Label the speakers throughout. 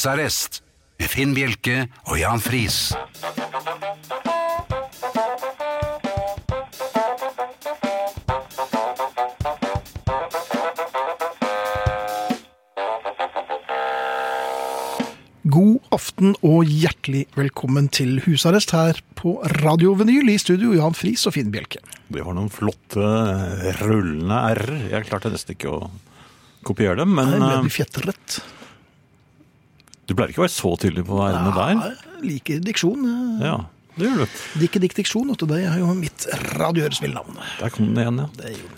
Speaker 1: Husarrest med Finn Bjelke og Jan Friis.
Speaker 2: God aften og hjertelig velkommen til husarrest her på Radio Vinyl i studio, Jan Friis og Finn Bjelke.
Speaker 3: Det var noen flotte rullende r-er. Jeg klarte nesten ikke å kopiere dem, men
Speaker 2: Her ble
Speaker 3: eh,
Speaker 2: vi fjetret.
Speaker 3: du pleier ikke å være så tydelig på r-ene der.
Speaker 2: Jeg liker diksjon. eh.
Speaker 3: Ja, det gjør du.
Speaker 2: Dikke dikk diksjon, vet du, det er jo mitt radiohøresvillnavn.
Speaker 3: Der kom den igjen, ja.
Speaker 2: Det er jo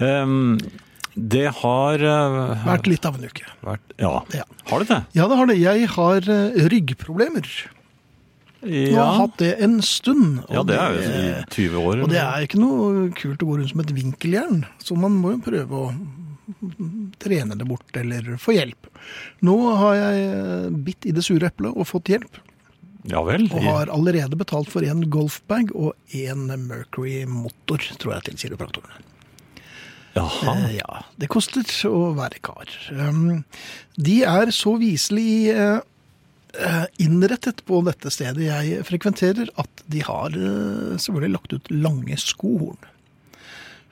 Speaker 3: Ehm, det har eh,
Speaker 2: vært litt av en uke.
Speaker 3: vært Ja.
Speaker 2: Ja.
Speaker 3: Har det det?
Speaker 2: Ja, det har det. Jeg har eh, ryggproblemer. Nå har jeg hatt det en stund. og
Speaker 3: ja, det er jo i 20 år.
Speaker 2: Og det er ikke noe kult å gå rundt som et vinkeljern, så man må jo prøve å trene det bort eller få hjelp. Nå har jeg eh, bitt i det sure eplet og fått hjelp,
Speaker 3: Ja vel.
Speaker 2: og har allerede betalt for en golfbag og en Mercury-motor, tror jeg, til kiropraktoren.
Speaker 3: Jaha.
Speaker 2: Eh, Ja, det koster å være kar. Um, De er så viselig eh, eh, innrettet på dette stedet jeg frekventerer, at de har eh, selvfølgelig lagt ut lange skohorn.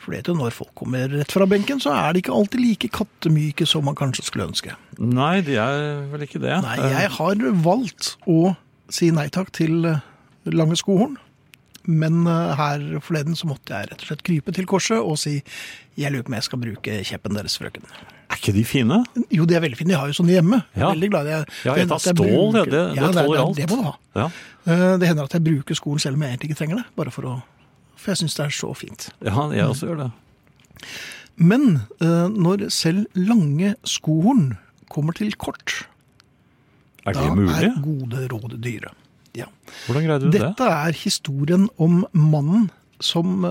Speaker 2: For det er jo når folk kommer rett fra benken, så er de ikke alltid like kattemyke som man kanskje skulle ønske.
Speaker 3: Nei, de er vel ikke det.
Speaker 2: Nei, jeg har valgt å si nei takk til eh, lange skohorn. Men eh, her forleden så måtte jeg rett og slett krype til korset og si jeg lurer på om jeg skal bruke kjeppen deres, frøken.
Speaker 3: Er ikke de fine?
Speaker 2: Jo, de er veldig fine. Jeg har jo sånne hjemme. Jeg er
Speaker 3: Ja.
Speaker 2: Veldig glad i
Speaker 3: Ja, et av
Speaker 2: at jeg
Speaker 3: stål,
Speaker 2: bruker-
Speaker 3: ja, det, det tåler alt.
Speaker 2: Det, det må du ha.
Speaker 3: Ja.
Speaker 2: Eh, Det hender at jeg bruker skolen selv om jeg egentlig ikke trenger det. Bare for å For jeg syns det er så fint.
Speaker 3: ja, jeg også gjør det.
Speaker 2: Men eh, når selv lange skohorn kommer til kort,
Speaker 3: Er
Speaker 2: da
Speaker 3: det mulig?
Speaker 2: er gode råd dyre. Ja.
Speaker 3: Hvordan greide du det?
Speaker 2: Dette er historien om mannen som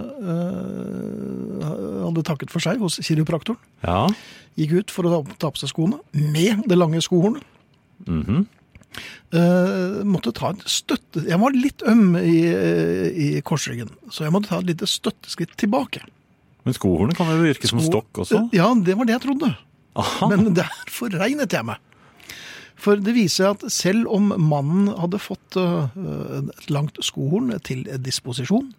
Speaker 2: eh, hadde takket for seg hos kiropraktoren.
Speaker 3: Ja.
Speaker 2: Gikk ut for å ta, ta på seg skoene med det lange skohornet.
Speaker 3: Mhm.
Speaker 2: Eh, måtte ta et støtte... Jeg var litt øm i, eh, i korsryggen, så jeg måtte ta et lite støtteskritt tilbake.
Speaker 3: Men skohornet kan jo virke som
Speaker 2: Sko-
Speaker 3: stokk også?
Speaker 2: Eh, Ja, det var det jeg trodde.
Speaker 3: Aha.
Speaker 2: Men der forregnet jeg meg. For det viser seg at selv om mannen hadde fått eh, et langt skohorn til disposisjon,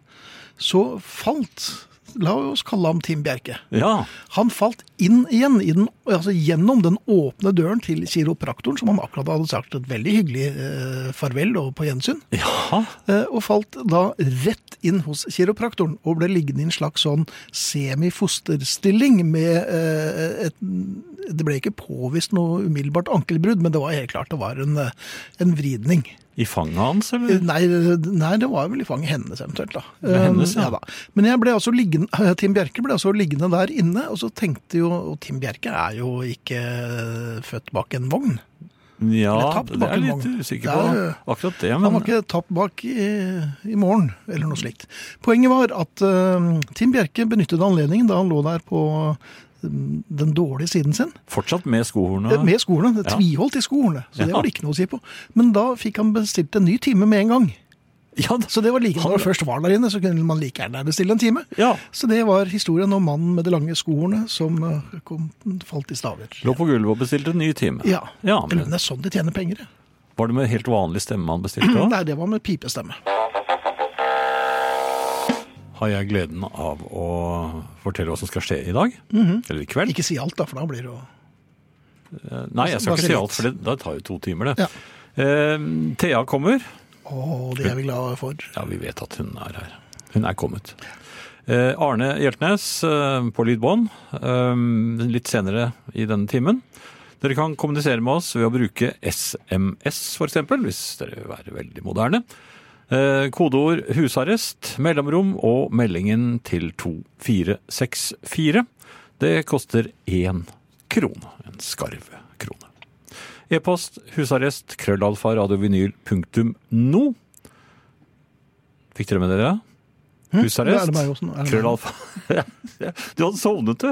Speaker 2: så falt La oss kalle ham Tim Bjerke.
Speaker 3: Ja.
Speaker 2: Han falt inn igjen, i den, altså gjennom den åpne døren til kiropraktoren, som han akkurat hadde sagt et veldig hyggelig eh, farvel og på gjensyn,
Speaker 3: ja.
Speaker 2: eh, og falt da rett inn hos kiropraktoren og ble liggende i en slags sånn semifosterstilling med eh, et Det ble ikke påvist noe umiddelbart ankelbrudd, men det var helt klart det var en, eh, en vridning. Eh,
Speaker 3: I fanget hans, eller?
Speaker 2: Nei, nei, det var vel i fanget hennes eventuelt, da.
Speaker 3: Mm. Det var hennes, ja.
Speaker 2: Eh, da. Men jeg ble altså liggende, Tim Bjerke ble altså liggende der inne, og så tenkte jo Og Tim Bjerke er jo ikke eh, født bak en vogn.
Speaker 3: Ja,
Speaker 2: Eller tapt
Speaker 3: det er jeg
Speaker 2: bakken
Speaker 3: litt
Speaker 2: vogn.
Speaker 3: usikker
Speaker 2: Det
Speaker 3: på.
Speaker 2: er-
Speaker 3: Akkurat det,
Speaker 2: Han
Speaker 3: men
Speaker 2: var ikke tapt bak i, i morgen, eller noe slikt. Poenget var at eh, Tim Bjerke benyttet anledningen da han lå der på eh, den dårlige siden sin,
Speaker 3: fortsatt med skohornet.
Speaker 2: eh, med skoene. Det
Speaker 3: Ja.
Speaker 2: tviholdt i skoene, så det
Speaker 3: Ja.
Speaker 2: var det ikke noe å si på. Men da fikk han bestilt en ny time med en gang.
Speaker 3: Ja, da-
Speaker 2: Så det var like,
Speaker 3: Han-
Speaker 2: Når man først var der inne, så kunne man like gjerne bestille en time.
Speaker 3: ja.
Speaker 2: Så det var historien om mannen med de lange skoene som eh, kom, falt i staver.
Speaker 3: Lå på gulvet og bestilte en ny time.
Speaker 2: Ja. Eller
Speaker 3: men
Speaker 2: det er sånn de tjener penger. ja.
Speaker 3: Var det med helt vanlig stemme han bestilte? da?
Speaker 2: Mm, Nei, det var med pipestemme.
Speaker 3: Har jeg gleden av å fortelle hva som skal skje i dag?
Speaker 2: Mhm.
Speaker 3: Eller i kveld?
Speaker 2: Ikke si alt, da, for da blir det jo
Speaker 3: Eh, Nei, jeg skal
Speaker 2: Bare
Speaker 3: ikke si
Speaker 2: litt.
Speaker 3: alt, for det, det tar jo to timer, det.
Speaker 2: Ja.
Speaker 3: Eh, Thea kommer.
Speaker 2: Å, det er vi glad for.
Speaker 3: Ja, vi vet at hun er her. Hun er kommet. Eh, Arne Hjeltnes eh, på lydbånd eh, litt senere i denne timen. Dere kan kommunisere med oss ved å bruke SMS, f.eks., hvis dere vil være veldig moderne. Eh, kodeord 'husarrest', mellomrom og meldingen til 2464. Det koster én krone. En skarv krone. E-post husarrest krøllalfa radiovinyl punktum no. Fikk dere med dere?
Speaker 2: Det Hm, er
Speaker 3: Husarrest?
Speaker 2: det meg også nå, er det meg?
Speaker 3: Krøllalfa. du hadde sovnet, du.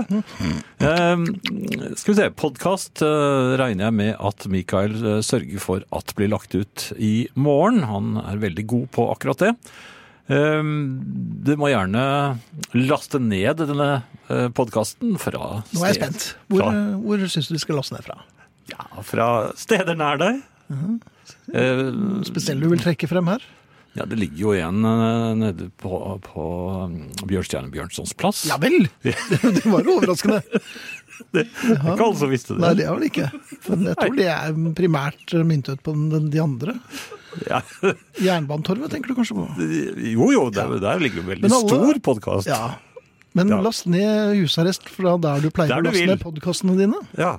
Speaker 3: Eh, skal vi se. Podkast eh, regner jeg med at Mikael eh, sørger for at blir lagt ut i morgen. Han er veldig god på akkurat det. Eh, du må gjerne laste ned denne podkasten fra
Speaker 2: Nå er jeg
Speaker 3: sted- Mm.
Speaker 2: spent. Hvor,
Speaker 3: fra-
Speaker 2: eh, hvor syns du de skal laste ned fra?
Speaker 3: Ja, fra steder nær deg.
Speaker 2: Mhm.
Speaker 3: Eh,
Speaker 2: Spesielt du vil trekke frem her?
Speaker 3: Ja, det ligger jo igjen eh, nede på, på mm, Bjørnstjerne Bjørnsons plass.
Speaker 2: Ja vel! Det var jo overraskende.
Speaker 3: Det er Ikke alle som visste det.
Speaker 2: Nei, det er vel ikke. Men jeg tror det er primært myntet på den, de andre.
Speaker 3: Ja.
Speaker 2: Jernbanetorvet tenker du kanskje på?
Speaker 3: Jo, jo, der, der ligger det en veldig
Speaker 2: Men alle-
Speaker 3: stor podkast.
Speaker 2: Ja. Men
Speaker 3: Ja.
Speaker 2: last ned husarrest fra der du pleier
Speaker 3: Der
Speaker 2: å
Speaker 3: du
Speaker 2: laste
Speaker 3: vil.
Speaker 2: ned podkastene dine.
Speaker 3: Ja.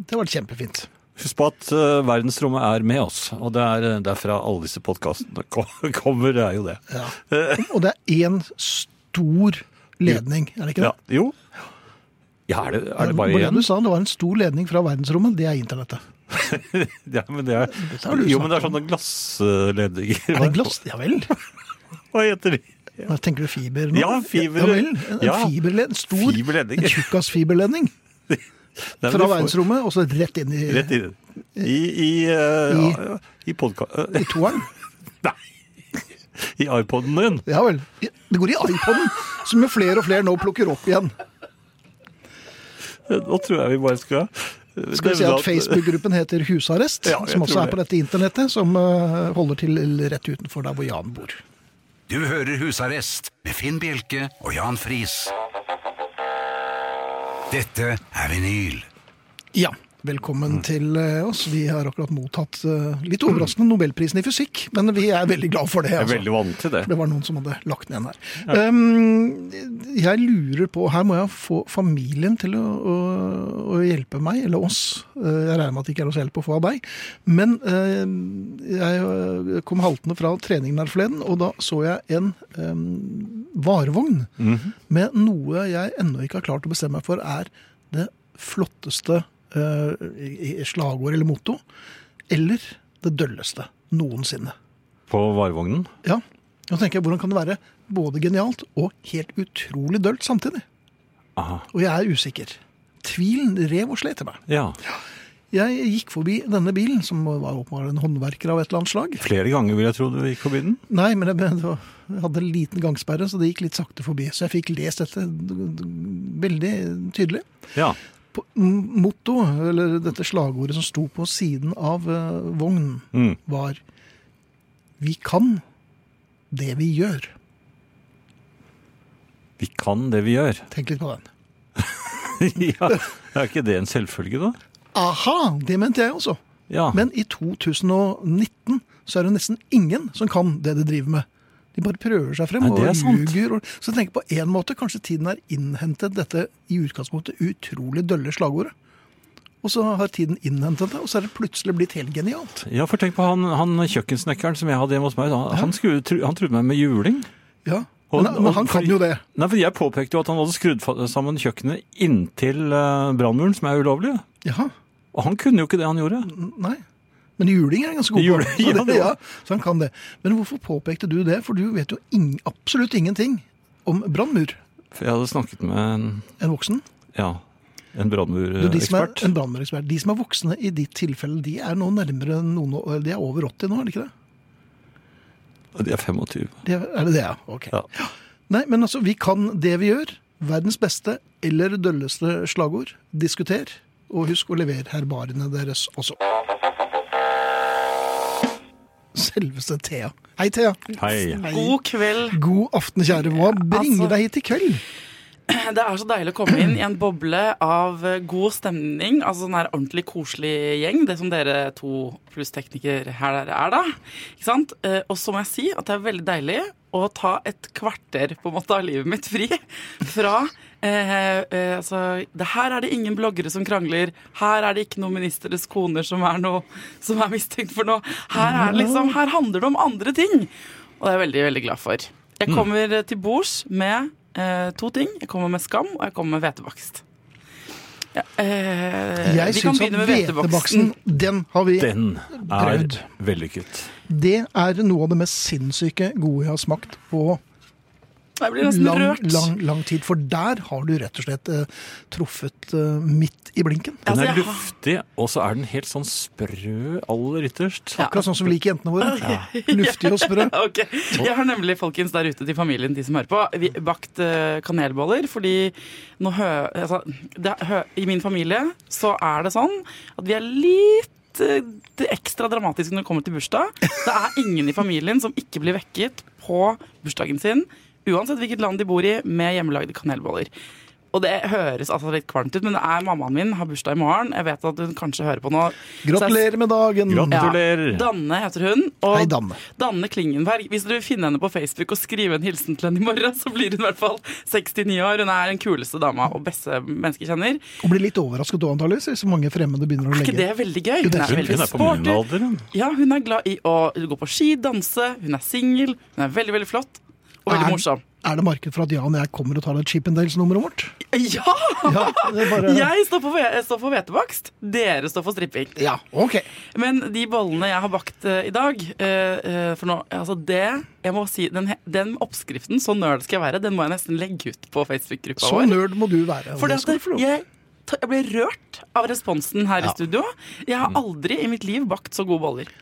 Speaker 2: Det har vært kjempefint.
Speaker 3: Husk på at eh, verdensrommet er med oss, og det er eh, derfra alle disse podkastene kom- kommer. Det er jo det.
Speaker 2: Ja.
Speaker 3: Eh,
Speaker 2: Og det er én stor ledning, er det ikke det?
Speaker 3: ja, jo. Ja, er det, er det
Speaker 2: var
Speaker 3: bare
Speaker 2: det
Speaker 3: én?
Speaker 2: du sa, det var en stor ledning fra verdensrommet. Det er internettet.
Speaker 3: Ja, men det er,
Speaker 2: har du
Speaker 3: jo,
Speaker 2: snakket
Speaker 3: men det er sånne glassledninger.
Speaker 2: Er det glass? Ja vel.
Speaker 3: Hva heter de?
Speaker 2: Nå tenker du fiber nå?
Speaker 3: Ja, fiber.
Speaker 2: Ja vel. En
Speaker 3: Ja.
Speaker 2: fiberled, en stor,
Speaker 3: Fiberledning.
Speaker 2: en tjukkasfiberledning
Speaker 3: Nei,
Speaker 2: fra
Speaker 3: men du får-
Speaker 2: verdensrommet og så rett inn i,
Speaker 3: Rett i det. I, i,
Speaker 2: I-
Speaker 3: uh, i, podka- eh,
Speaker 2: i toeren.
Speaker 3: I iPoden din.
Speaker 2: Ja vel. Det går i iPoden, som jo flere og flere nå plukker opp igjen.
Speaker 3: Nå tror jeg vi bare skal
Speaker 2: Skal vi si at Facebook-gruppen heter Husarrest,
Speaker 3: Ja, jeg
Speaker 2: som også
Speaker 3: tror
Speaker 2: er på dette internettet, som eh, holder til rett utenfor der hvor Jan bor.
Speaker 1: Du hører Husarrest med Finn Bjelke og Jan Friis. Dette er vinyl.
Speaker 2: Ja,
Speaker 3: Mm.
Speaker 2: velkommen til eh, oss. Vi har akkurat mottatt eh, litt overraskende Nobelprisen i fysikk, men vi er veldig glad for det.
Speaker 3: Jeg er
Speaker 2: altså.
Speaker 3: veldig vant til det.
Speaker 2: For det var noen som hadde lagt den igjen her. Um, jeg lurer på Her må jeg få familien til å, å, å hjelpe meg, eller oss. Uh, Jeg regner med at det ikke er oss hjelp å få av deg. Men uh, jeg uh, kom haltende fra treningen her forleden, og da så jeg en um, varevogn med noe jeg ennå ikke har klart å bestemme meg for er det flotteste uh, i- i slagord eller motto, eller det dølleste noensinne.
Speaker 3: På varevognen.
Speaker 2: Ja. Nå tenker jeg, Hvordan kan det være både genialt og helt utrolig dølt samtidig?
Speaker 3: Aha.
Speaker 2: Og jeg er usikker. Tvilen rev og slet i meg.
Speaker 3: Ja.
Speaker 2: Jeg gikk forbi denne bilen, som var åpenbart en håndverker av et eller annet slag.
Speaker 3: Flere ganger vil jeg tro du gikk forbi den.
Speaker 2: Nei, men jeg, men det var- jeg hadde en liten gangsperre, så det gikk litt sakte forbi. Så jeg fikk lest dette veldig tydelig.
Speaker 3: Ja.
Speaker 2: På- m- Motto, eller dette slagordet som sto på siden av eh, vognen,
Speaker 3: Mm.
Speaker 2: var Vi kan det vi gjør.
Speaker 3: Vi kan det vi gjør.
Speaker 2: Tenk litt på den.
Speaker 3: ja. Er ikke det en selvfølge, da?
Speaker 2: Aha! Det mente jeg også.
Speaker 3: Ja.
Speaker 2: Men i 2019 så er det nesten ingen som kan det de driver med. De bare prøver seg frem
Speaker 3: Nei, det er
Speaker 2: og
Speaker 3: sant.
Speaker 2: ljuger. og- Så jeg tenker på en måte, kanskje tiden har innhentet dette i utgangspunktet utrolig dølle slagordet. Og så har tiden innhentet det, og så er det plutselig blitt helt genialt.
Speaker 3: ja, for tenk på han, han kjøkkensnekkeren som jeg hadde hjemme hos meg. Han, han, skulle, tru- han truet meg med juling.
Speaker 2: Ja,
Speaker 3: Og-
Speaker 2: Men, men
Speaker 3: og
Speaker 2: han kan
Speaker 3: fordi-
Speaker 2: jo det.
Speaker 3: Nei, for Jeg påpekte jo at han hadde skrudd fa- sammen kjøkkenet inntil eh, brannmuren, som er ulovlig.
Speaker 2: Jaha,
Speaker 3: Og han kunne jo ikke det han gjorde.
Speaker 2: n- nei. Men juling er han ganske god på.
Speaker 3: Juling, ja,
Speaker 2: så, det,
Speaker 3: det var-
Speaker 2: ja, så han kan det. Men hvorfor påpekte du det? For du vet jo ing, absolutt ingenting om brannmur.
Speaker 3: For jeg hadde snakket med en,
Speaker 2: En voksen.
Speaker 3: ja, en
Speaker 2: Du, de som er,
Speaker 3: brannmurekspert.
Speaker 2: en brannmannekspert. De som er voksne i ditt tilfelle, de er nå nærmere noen år- De er over 80 nå, er det ikke det?
Speaker 3: De er 25.
Speaker 2: De er, er det det, ja? Ok.
Speaker 3: Ja.
Speaker 2: Nei, men altså, vi kan det vi gjør. Verdens beste eller dølleste slagord. Diskuter. Og husk å levere herbariene deres også. Selveste Thea. Hei, Thea.
Speaker 3: Hei.
Speaker 4: God kveld.
Speaker 2: God aften, kjære. Hva bringer
Speaker 4: altså-
Speaker 2: deg hit i kveld?
Speaker 4: Det er så deilig å komme inn i en boble av eh, god stemning. Altså sånn her ordentlig koselig gjeng, det som dere to pluss tekniker her dere er, da. Ikke sant? Eh, Og så må jeg si at det er veldig deilig å ta et kvarter på en måte av livet mitt fri fra eh, eh, altså, det Her er det ingen bloggere som krangler. Her er det ikke noen ministeres koner som er, noe, som er mistenkt for noe. Her, er det liksom, her handler det om andre ting. Og det er jeg veldig, veldig glad for. Jeg kommer eh, til bords med eh, to ting. Jeg kommer med skam, og jeg kommer med hvetebakst. Ja, eh,
Speaker 2: Jeg
Speaker 4: vi kan
Speaker 2: syns at
Speaker 4: begynne med hvetebaksten.
Speaker 2: hvetebaksen, den har vi
Speaker 3: Den er
Speaker 2: Prøvd.
Speaker 3: vellykket.
Speaker 2: Det er noe av det mest sinnssyke gode jeg har smakt på
Speaker 4: Jeg blir nesten
Speaker 2: lang,
Speaker 4: rørt.
Speaker 2: lang, lang tid. For der har du rett og slett eh, truffet eh, midt i blinken.
Speaker 3: Den
Speaker 4: Altså,
Speaker 3: er
Speaker 4: jeg har-
Speaker 3: luftig, og så er den helt sånn sprø aller ytterst.
Speaker 4: Ja.
Speaker 2: Akkurat sånn som vi liker jentene våre. Luftig og sprø.
Speaker 4: Ok, Jeg har nemlig folkens der ute til familien de som hører på, vi- bakt eh, kanelboller. Fordi nå hø, altså, det, hø, i min familie så er det sånn at vi er litt eh, det ekstra dramatiske når det kommer til bursdag. Det er ingen i familien som ikke blir vekket på bursdagen sin, uansett hvilket land de bor i, med hjemmelagde kanelboller. Og det høres altså litt kvalmt ut, men det er mammaen min har bursdag i morgen. Jeg vet at hun kanskje hører på nå.
Speaker 2: Gratulerer med dagen!
Speaker 3: Gratulerer.
Speaker 4: Danne heter hun. Og
Speaker 2: Hei, Danne.
Speaker 4: Danne Klingenberg. Hvis dere vil finne henne på Facebook og skrive en hilsen til henne i morgen, så blir hun i hvert fall 69 år. Hun er den kuleste dama og beste menneske jeg kjenner.
Speaker 2: Og blir litt overrasket òg, antakeligvis, hvis så mange fremmede begynner å
Speaker 4: Er ikke
Speaker 2: legge
Speaker 4: det veldig gøy?
Speaker 2: det er
Speaker 4: Hun er
Speaker 2: fint.
Speaker 3: Hun
Speaker 4: veldig
Speaker 3: er på min
Speaker 4: sporty.
Speaker 3: alder. hun.
Speaker 4: Ja, hun er glad i å gå på ski, danse. Hun er singel. Hun er veldig, veldig flott. Og veldig
Speaker 2: Er-
Speaker 4: morsom.
Speaker 2: Er det marked for at Jan og jeg kommer og tar et Chippendales-nummeret vårt?
Speaker 4: Ja!
Speaker 2: Ja, det er bare...
Speaker 4: Jeg står for, jeg står for hvetebakst. Dere står for stripping.
Speaker 2: ja, ok.
Speaker 4: Men de bollene jeg har bakt eh, i dag eh, eh, For nå, altså det Jeg må si, den, he- den oppskriften, så nerd skal jeg være, den må jeg nesten legge ut på Facebook-gruppa
Speaker 2: Så
Speaker 4: vår.
Speaker 2: nerd må du være. og
Speaker 4: Fordi
Speaker 2: det skal du
Speaker 4: at
Speaker 2: få lov til.
Speaker 4: jeg, ta- jeg ble rørt av responsen her
Speaker 2: Ja. Mm.
Speaker 4: i studio. Jeg har aldri i mitt liv bakt så gode boller.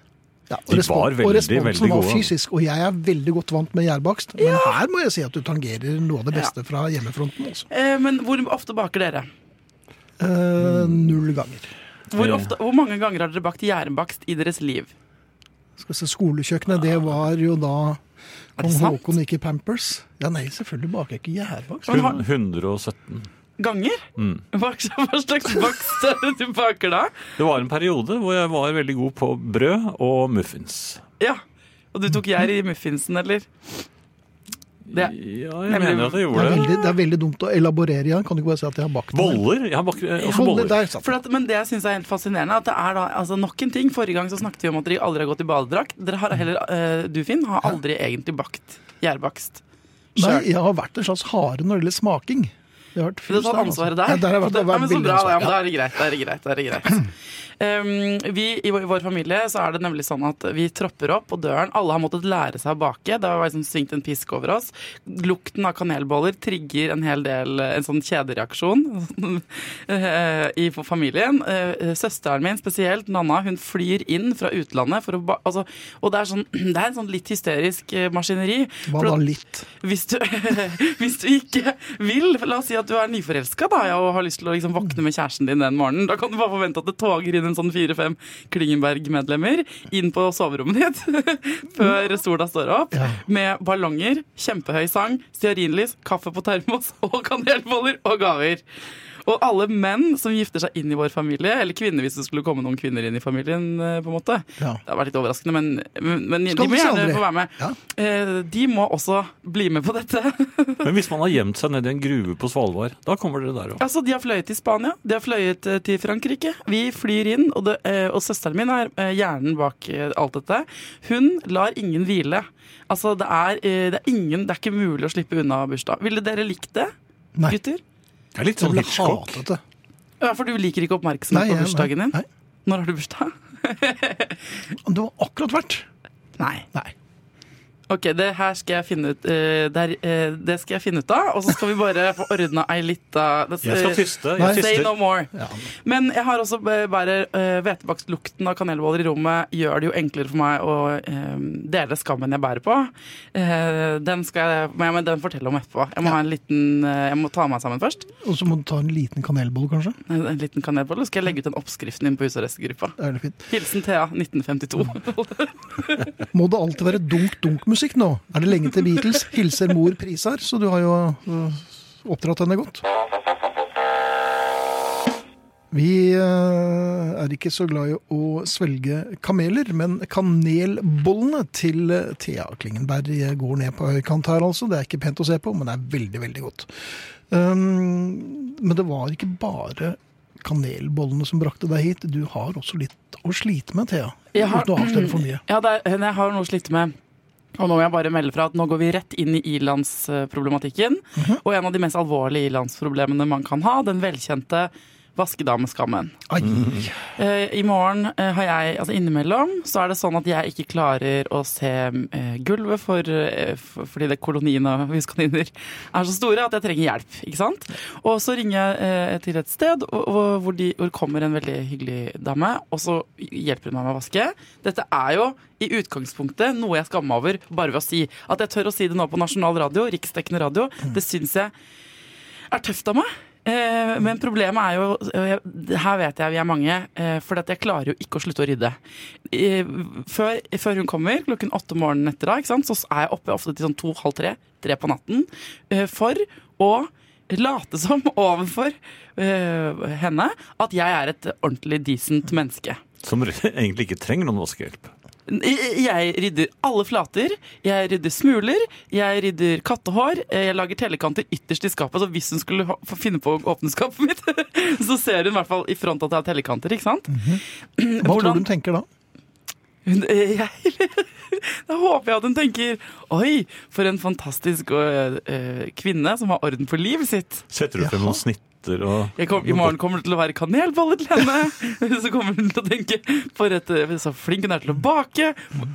Speaker 2: Ja, og
Speaker 3: De
Speaker 2: respons-
Speaker 3: var veldig,
Speaker 2: og responsen
Speaker 3: veldig
Speaker 2: var
Speaker 3: gode.
Speaker 2: fysisk, og jeg er veldig godt vant med gjærbakst. Men her må jeg si at du tangerer noe av det beste fra hjemmefronten. altså. Også.
Speaker 4: Eh, men hvor ofte baker dere?
Speaker 2: Eh,
Speaker 4: Mm.
Speaker 2: null ganger.
Speaker 4: Hvor,
Speaker 3: Ja.
Speaker 2: Eh.
Speaker 4: ofte, hvor mange ganger har dere bakt gjærbakst i deres liv?
Speaker 2: Skal vi se, Skolekjøkkenet, det var jo da
Speaker 4: det
Speaker 2: Kong
Speaker 4: sant?
Speaker 2: Haakon gikk i Pampers. Ja, nei, selvfølgelig baker jeg ikke gjærbakst.
Speaker 4: Men har-
Speaker 3: Hun- 117.
Speaker 4: Ganger?
Speaker 2: Mm.
Speaker 4: Hva, hva slags bakst er det du baker da?
Speaker 3: Det var en periode hvor jeg var veldig god på brød og muffins.
Speaker 4: Ja. Og du tok gjær i muffinsen, eller?
Speaker 3: Ja,
Speaker 4: Det-
Speaker 3: jeg
Speaker 4: Nemlig-
Speaker 3: mener at jeg
Speaker 2: Det er,
Speaker 3: gjorde det.
Speaker 2: veldig, det er veldig dumt å elaborere igjen. Kan du ikke bare si at jeg har bakt den?
Speaker 3: Boller? Jeg har bakt eh, også
Speaker 2: Boller,
Speaker 3: boller.
Speaker 2: Der satt
Speaker 4: For
Speaker 2: den.
Speaker 4: at, men det jeg synes er helt fascinerende, er at det er da, altså nok en ting. Forrige gang så snakket vi om at dere aldri har gått i badedrakt. Dere har heller, eh, du Finn, har aldri egentlig bakt gjærbakst.
Speaker 2: Nei,
Speaker 4: Selv.
Speaker 2: jeg har vært en slags hare når det gjelder smaking. Jeg har vært
Speaker 4: Du har tatt
Speaker 2: fyllest
Speaker 4: ansvaret
Speaker 2: altså.
Speaker 4: der.
Speaker 2: Ja, der har jeg vært, det har
Speaker 4: det, ja,
Speaker 2: vært altså.
Speaker 4: men så
Speaker 2: veldig
Speaker 4: bra,
Speaker 2: ansvar.
Speaker 4: ja, men da er det greit. Da er det greit, da er det greit. Um, vi i vår, i vår familie så er det nemlig sånn at vi tropper opp på døren. Alle har måttet lære seg å bake. Det har liksom svingt en pisk over oss. Lukten av kanelboller trigger en hel del eh, en sånn kjedereaksjon eh, i for familien. Eh, Søsteren min spesielt, Nanna, hun flyr inn fra utlandet for å ba... Altså, og det er, sånn, det er en sånn litt hysterisk eh, maskineri.
Speaker 2: Hva
Speaker 4: For
Speaker 2: da
Speaker 4: at-
Speaker 2: litt?
Speaker 4: hvis du, hvis du ikke vil La oss si at du er nyforelska da, ja, og har lyst til å liksom våkne med kjæresten din den morgenen. Da kan du bare forvente at det toger inn en sånn fire-fem Klingenberg-medlemmer inn på soverommet ditt før sola står opp,
Speaker 2: Ja.
Speaker 4: med ballonger, kjempehøy sang, stearinlys, kaffe på termos og kanelboller og gaver. Og alle menn som gifter seg inn i vår familie, eller kvinner hvis det skulle komme noen kvinner inn i familien, eh, på en måte.
Speaker 2: Ja.
Speaker 4: Det har vært litt overraskende, men, men, men de
Speaker 2: Skal
Speaker 4: må
Speaker 2: vi se,
Speaker 4: gjerne
Speaker 2: André?
Speaker 4: få være med.
Speaker 2: Ja.
Speaker 4: Eh, De må også bli med på dette.
Speaker 3: Men hvis man har gjemt seg nedi en gruve på Svalbard, da kommer dere der òg.
Speaker 4: Altså, De har fløyet til Spania, de har fløyet eh, til Frankrike. Vi flyr inn, og, det, eh, og søsteren min er eh, hjernen bak eh, alt dette. Hun lar ingen hvile. Altså, Det er, eh, det er, ingen, det er ikke mulig å slippe unna bursdag. Ville dere likt det,
Speaker 2: Nei,
Speaker 4: gutter?
Speaker 3: Det er litt
Speaker 2: jeg
Speaker 3: sånn
Speaker 2: ble
Speaker 3: Hitchcock.
Speaker 2: hatet det.
Speaker 4: Ja, For du liker ikke oppmerksomhet
Speaker 2: jeg-
Speaker 4: på bursdagen din?
Speaker 2: Nei.
Speaker 4: Når har du bursdag?
Speaker 2: Det var akkurat verdt.
Speaker 4: Nei.
Speaker 2: Nei.
Speaker 4: Ok, det her skal jeg finne ut eh, der, eh, Det skal jeg finne ut av, og så skal vi bare få ordna ei lita eh,
Speaker 3: Jeg skal tyste.
Speaker 2: Nei.
Speaker 3: Jeg
Speaker 4: Say no
Speaker 3: tyster.
Speaker 4: more.
Speaker 2: Ja.
Speaker 4: Men jeg har også eh, bare eh, hvetebakstlukten av kanelboller i rommet gjør det jo enklere for meg å eh, dele skammen jeg bærer på. Eh, den skal jeg men, men den forteller om etterpå. Jeg må ha en liten eh, Jeg må ta meg sammen først.
Speaker 2: Og så må du ta en liten kanelbolle, kanskje.
Speaker 4: En, en liten kanelbolle. Så skal jeg legge ut den oppskriften din på hus- og restgruppa.
Speaker 2: Det er det fint.
Speaker 4: Hilsen Thea 1952.
Speaker 2: Må det alltid være dunk-dunk-musikk nå? Er det lenge til Beatles? Hilser mor prisar, så du har jo øh, oppdratt henne godt. Vi øh, er ikke så glad i å svelge kameler, men kanelbollene til øh, Thea Klingenberg øh, går ned på høykant her, altså. Det er ikke pent å se på, men det er veldig, veldig godt. Um, men det var ikke bare kanelbollene som brakte deg hit. Du har også litt å slite med, Thea.
Speaker 4: Jeg har-
Speaker 2: Uten å avsløre for mye.
Speaker 4: Ja, det er, jeg har noe å slite med. Og nå må jeg bare melde fra at nå går vi rett inn i
Speaker 2: Mhm.
Speaker 4: ilandsproblematikken. Og en av de mest alvorlige ilandsproblemene man kan ha, den velkjente vaskedameskammen.
Speaker 2: Ai.
Speaker 4: Eh, I morgen eh, har jeg, altså innimellom, så er det sånn at jeg ikke klarer å se eh, gulvet for, eh, f- fordi det kolonien av huskaniner er så store at jeg trenger hjelp, ikke sant? Og så ringer jeg eh, til et sted og- og- hvor, de, hvor kommer en veldig hyggelig dame, og så hjelper hun meg med å vaske. Dette er jo i utgangspunktet noe jeg skammer meg over bare ved å si. At jeg tør å si det nå på nasjonal radio, riksdekkende radio, det syns jeg er tøft av meg. Eh, men problemet er jo eh, Her vet jeg vi er mange, eh, for at jeg klarer jo ikke å slutte å rydde. Eh, før, før hun kommer, klokken åtte om morgenen etter da, ikke sant, så er jeg oppe ofte til sånn to-halv tre, tre på natten, eh, for å late som overfor eh, henne at jeg er et ordentlig decent menneske.
Speaker 3: Som egentlig ikke trenger noen vaskehjelp.
Speaker 4: Jeg rydder alle flater, jeg rydder smuler, jeg rydder kattehår, eh, jeg lager tellekanter ytterst i skapet, så hvis hun skulle ha- få finne på å åpne skapet mitt, så ser hun i hvert fall i front at jeg har tellekanter, ikke sant?
Speaker 2: Hva tror du de tenker da?
Speaker 4: Hun, eh, jeg, da håper jeg at hun tenker, oi, for en fantastisk eh, eh, kvinne som har orden på livet sitt.
Speaker 3: Setter du frem noen snitter og
Speaker 4: Jeg kom, I morgen kommer det til å være kanelboller til henne. Så kommer hun til å tenke, for et, eh, så flink hun er til å bake,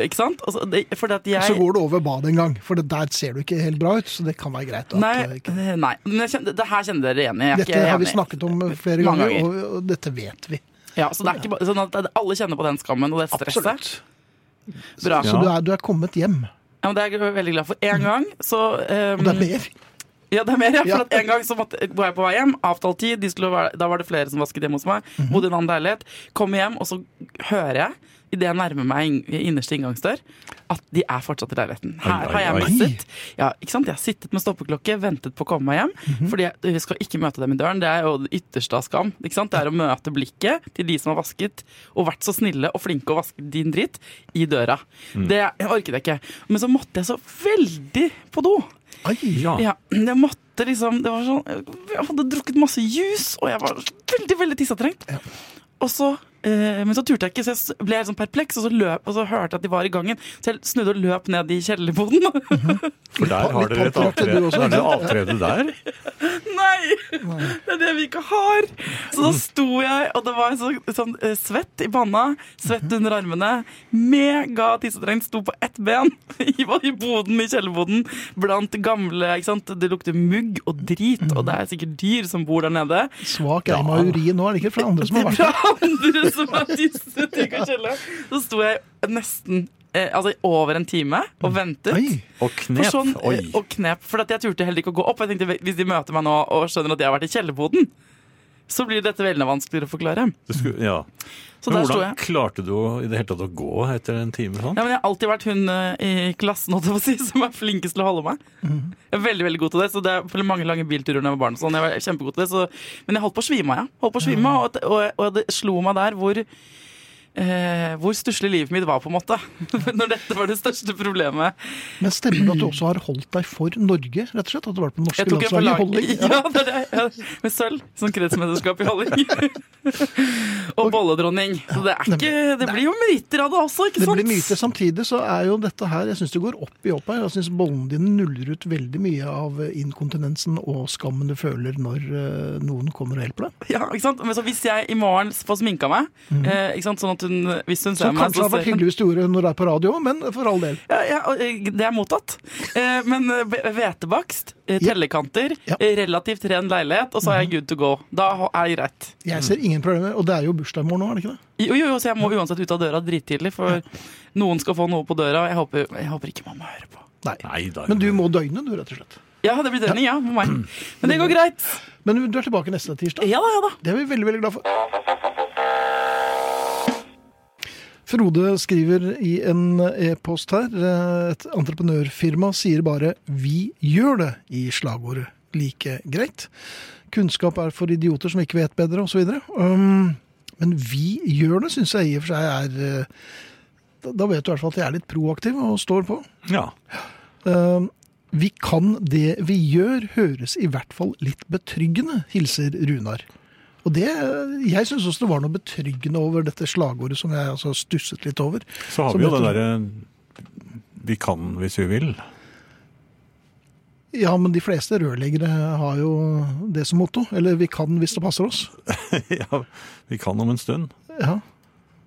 Speaker 4: ikke sant? Altså, det, fordi at jeg...
Speaker 2: Så går du over badet en gang, for det der ser du ikke helt bra ut. Så det kan være greit. At, eh,
Speaker 4: Nei, eh, nei. Men jeg kjenner, det her kjenner dere igjen i. Jeg er
Speaker 2: dette
Speaker 4: ikke
Speaker 2: har vi
Speaker 4: enig.
Speaker 2: snakket om flere
Speaker 4: Mange
Speaker 2: ganger,
Speaker 4: ganger.
Speaker 2: Og, og dette vet vi.
Speaker 4: Ja, så det er ikke bare, sånn at alle kjenner på den skammen og det stresset. Bra.
Speaker 2: Så du er, du er kommet hjem.
Speaker 4: Ja, men det er jeg veldig glad for. En gang så eh,
Speaker 2: Og det er mer.
Speaker 4: Ja, det er mer, ja. For
Speaker 2: Ja.
Speaker 4: at en gang så måtte, var jeg på vei hjem, avtalt tid, de skulle være, da var det flere som vasket hjemme hos meg.
Speaker 3: Mhm.
Speaker 4: Bodde i en annen leilighet. Kom hjem, og så hører jeg, idet jeg nærmer meg inn- innerste inngangsdør, at de er fortsatt i leiligheten. Her
Speaker 3: Oi,
Speaker 4: har jeg
Speaker 3: oi, oi.
Speaker 4: mistet. Ja, ikke sant? Jeg har sittet med stoppeklokke, ventet på å komme meg hjem.
Speaker 3: Mhm.
Speaker 4: Fordi jeg, jeg skal ikke møte dem i døren. Det er jo det ytterste av skam. Ikke sant? Det er å møte blikket til de som har vasket, og vært så snille og flinke og vasket din dritt, i døra.
Speaker 3: Mm.
Speaker 4: Det orket jeg ikke. Men så måtte jeg så veldig på do.
Speaker 2: Ai.
Speaker 3: Ja.
Speaker 4: Ja, jeg måtte liksom Det var sånn Jeg hadde drukket masse juice, og jeg var veldig, veldig tissetrengt. Og så eh, Men så turte jeg ikke, så jeg s- ble helt sånn perpleks, og så løp Og så hørte jeg at de var i gangen, så jeg snudde og løp ned i kjellerboden.
Speaker 3: For der har
Speaker 2: litt
Speaker 3: dere et
Speaker 2: påklarte du
Speaker 3: avtrede,
Speaker 2: også,
Speaker 3: har dere
Speaker 2: ikke
Speaker 3: avtrede der.
Speaker 4: Nei! Det er det vi ikke har! Så da sto jeg, og det var så, sånn eh, svett i panna, svett under armene, mega tissetrengt, sto på ett ben i, i boden, i kjellerboden, blant gamle ikke sant? Det lukter mugg og drit, og det er sikkert dyr som bor der nede.
Speaker 2: Svak eim av urin nå, er det ikke? For det er andre som har vært der.
Speaker 4: Fra andre som har tisset i Coachella. Så sto jeg nesten eh, altså over en time og ventet.
Speaker 2: Ai.
Speaker 3: Og
Speaker 4: For
Speaker 3: knep.
Speaker 4: sånn,
Speaker 3: Oi.
Speaker 4: og knep, for at jeg turte heller ikke å gå opp. Jeg tenkte, Hvis de møter meg nå og skjønner at jeg har vært i kjellerboden, så blir dette veldig vanskeligere å forklare.
Speaker 3: Det skulle, ja.
Speaker 4: Så
Speaker 3: Men
Speaker 4: der sto
Speaker 3: hvordan
Speaker 4: jeg.
Speaker 3: klarte du å- i det hele tatt å gå etter en time sånn?
Speaker 4: Ja, men Jeg har alltid vært hun eh, i klassen holdt jeg på å si, som er flinkest til å holde meg.
Speaker 3: Mhm.
Speaker 4: Jeg er veldig veldig god til det, så det er for mange lange bilturer når jeg var barn. og Sånn. Jeg var kjempegod til det, så, Men jeg holdt på å svime av, ja. Holdt på å
Speaker 3: Mhm.
Speaker 4: svime, av, og, og, og det slo meg der hvor Eh, hvor stusslig livet mitt var, på en måte. Når dette var det største problemet.
Speaker 2: Men stemmer det at du også har holdt deg for Norge, rett og slett? At du har vært på det norske
Speaker 4: Jeg tok
Speaker 2: landslaget
Speaker 4: en
Speaker 2: i
Speaker 4: forlag
Speaker 2: holding?
Speaker 4: ja, det er det. Ja, med sølv, som kretsmesterskap i holding. og bolledronning. Så det, er ikke, det blir jo meritter av det også, ikke
Speaker 2: Det
Speaker 4: sant?
Speaker 2: blir myter. Samtidig så er jo dette her Jeg syns det går opp i opp her. Jeg syns bollene dine nuller ut veldig mye av inkontinensen og skammen du føler når eh, noen kommer og hjelper deg.
Speaker 4: Ja, ikke sant? Men så hvis jeg i morgen får sminka meg, eh, ikke sant? sånn at hun hvis hun ser
Speaker 2: Som
Speaker 4: meg
Speaker 2: Mm. kanskje har vært hyggelig hvis du gjorde det når det er på radio, men for all del.
Speaker 4: ja, ja, og, eh, Det er mottatt. Eh, men eh, be- hvetebakst, eh,
Speaker 2: Ja.
Speaker 4: tellekanter,
Speaker 2: Ja. Mhm.
Speaker 4: eh, relativt ren leilighet, og så er jeg good to go. Da ho- er jeg greit.
Speaker 2: Jeg ser ingen problemer. Og det er jo bursdag i morgen òg, er det ikke det?
Speaker 4: Jo, jo, jo, så jeg må uansett ut av døra drittidlig, for noen skal få noe på døra. og Jeg håper, jeg håper ikke mamma hører på.
Speaker 2: Nei.
Speaker 3: Nei da.
Speaker 2: Men du må døgne, du, rett og slett.
Speaker 4: Ja, det blir dønning, ja, for meg. Men det går greit.
Speaker 2: Men du er tilbake neste tirsdag.
Speaker 4: Ja da, ja da.
Speaker 2: Det er vi veldig, veldig glad for. Frode skriver i en e-post her eh, et entreprenørfirma sier bare 'vi gjør det' i slagordet. Like greit. Kunnskap er for idioter som ikke vet bedre, osv. Um, men 'vi gjør det' syns jeg i og for seg er eh, da- Da vet du i hvert fall at jeg er litt proaktiv og står på.
Speaker 3: Ja.
Speaker 2: Eh, Vi kan det vi gjør, høres i hvert fall litt betryggende, hilser Runar. Og det, Jeg syns også det var noe betryggende over dette slagordet som jeg altså stusset litt over.
Speaker 3: Så har
Speaker 2: Som
Speaker 3: vi jo
Speaker 2: dette-
Speaker 3: det derre Vi kan hvis vi vil.
Speaker 2: Ja, men de fleste rørleggere har jo det som motto. Eller vi kan hvis det passer oss.
Speaker 3: ja, vi kan om en stund.
Speaker 2: Ja.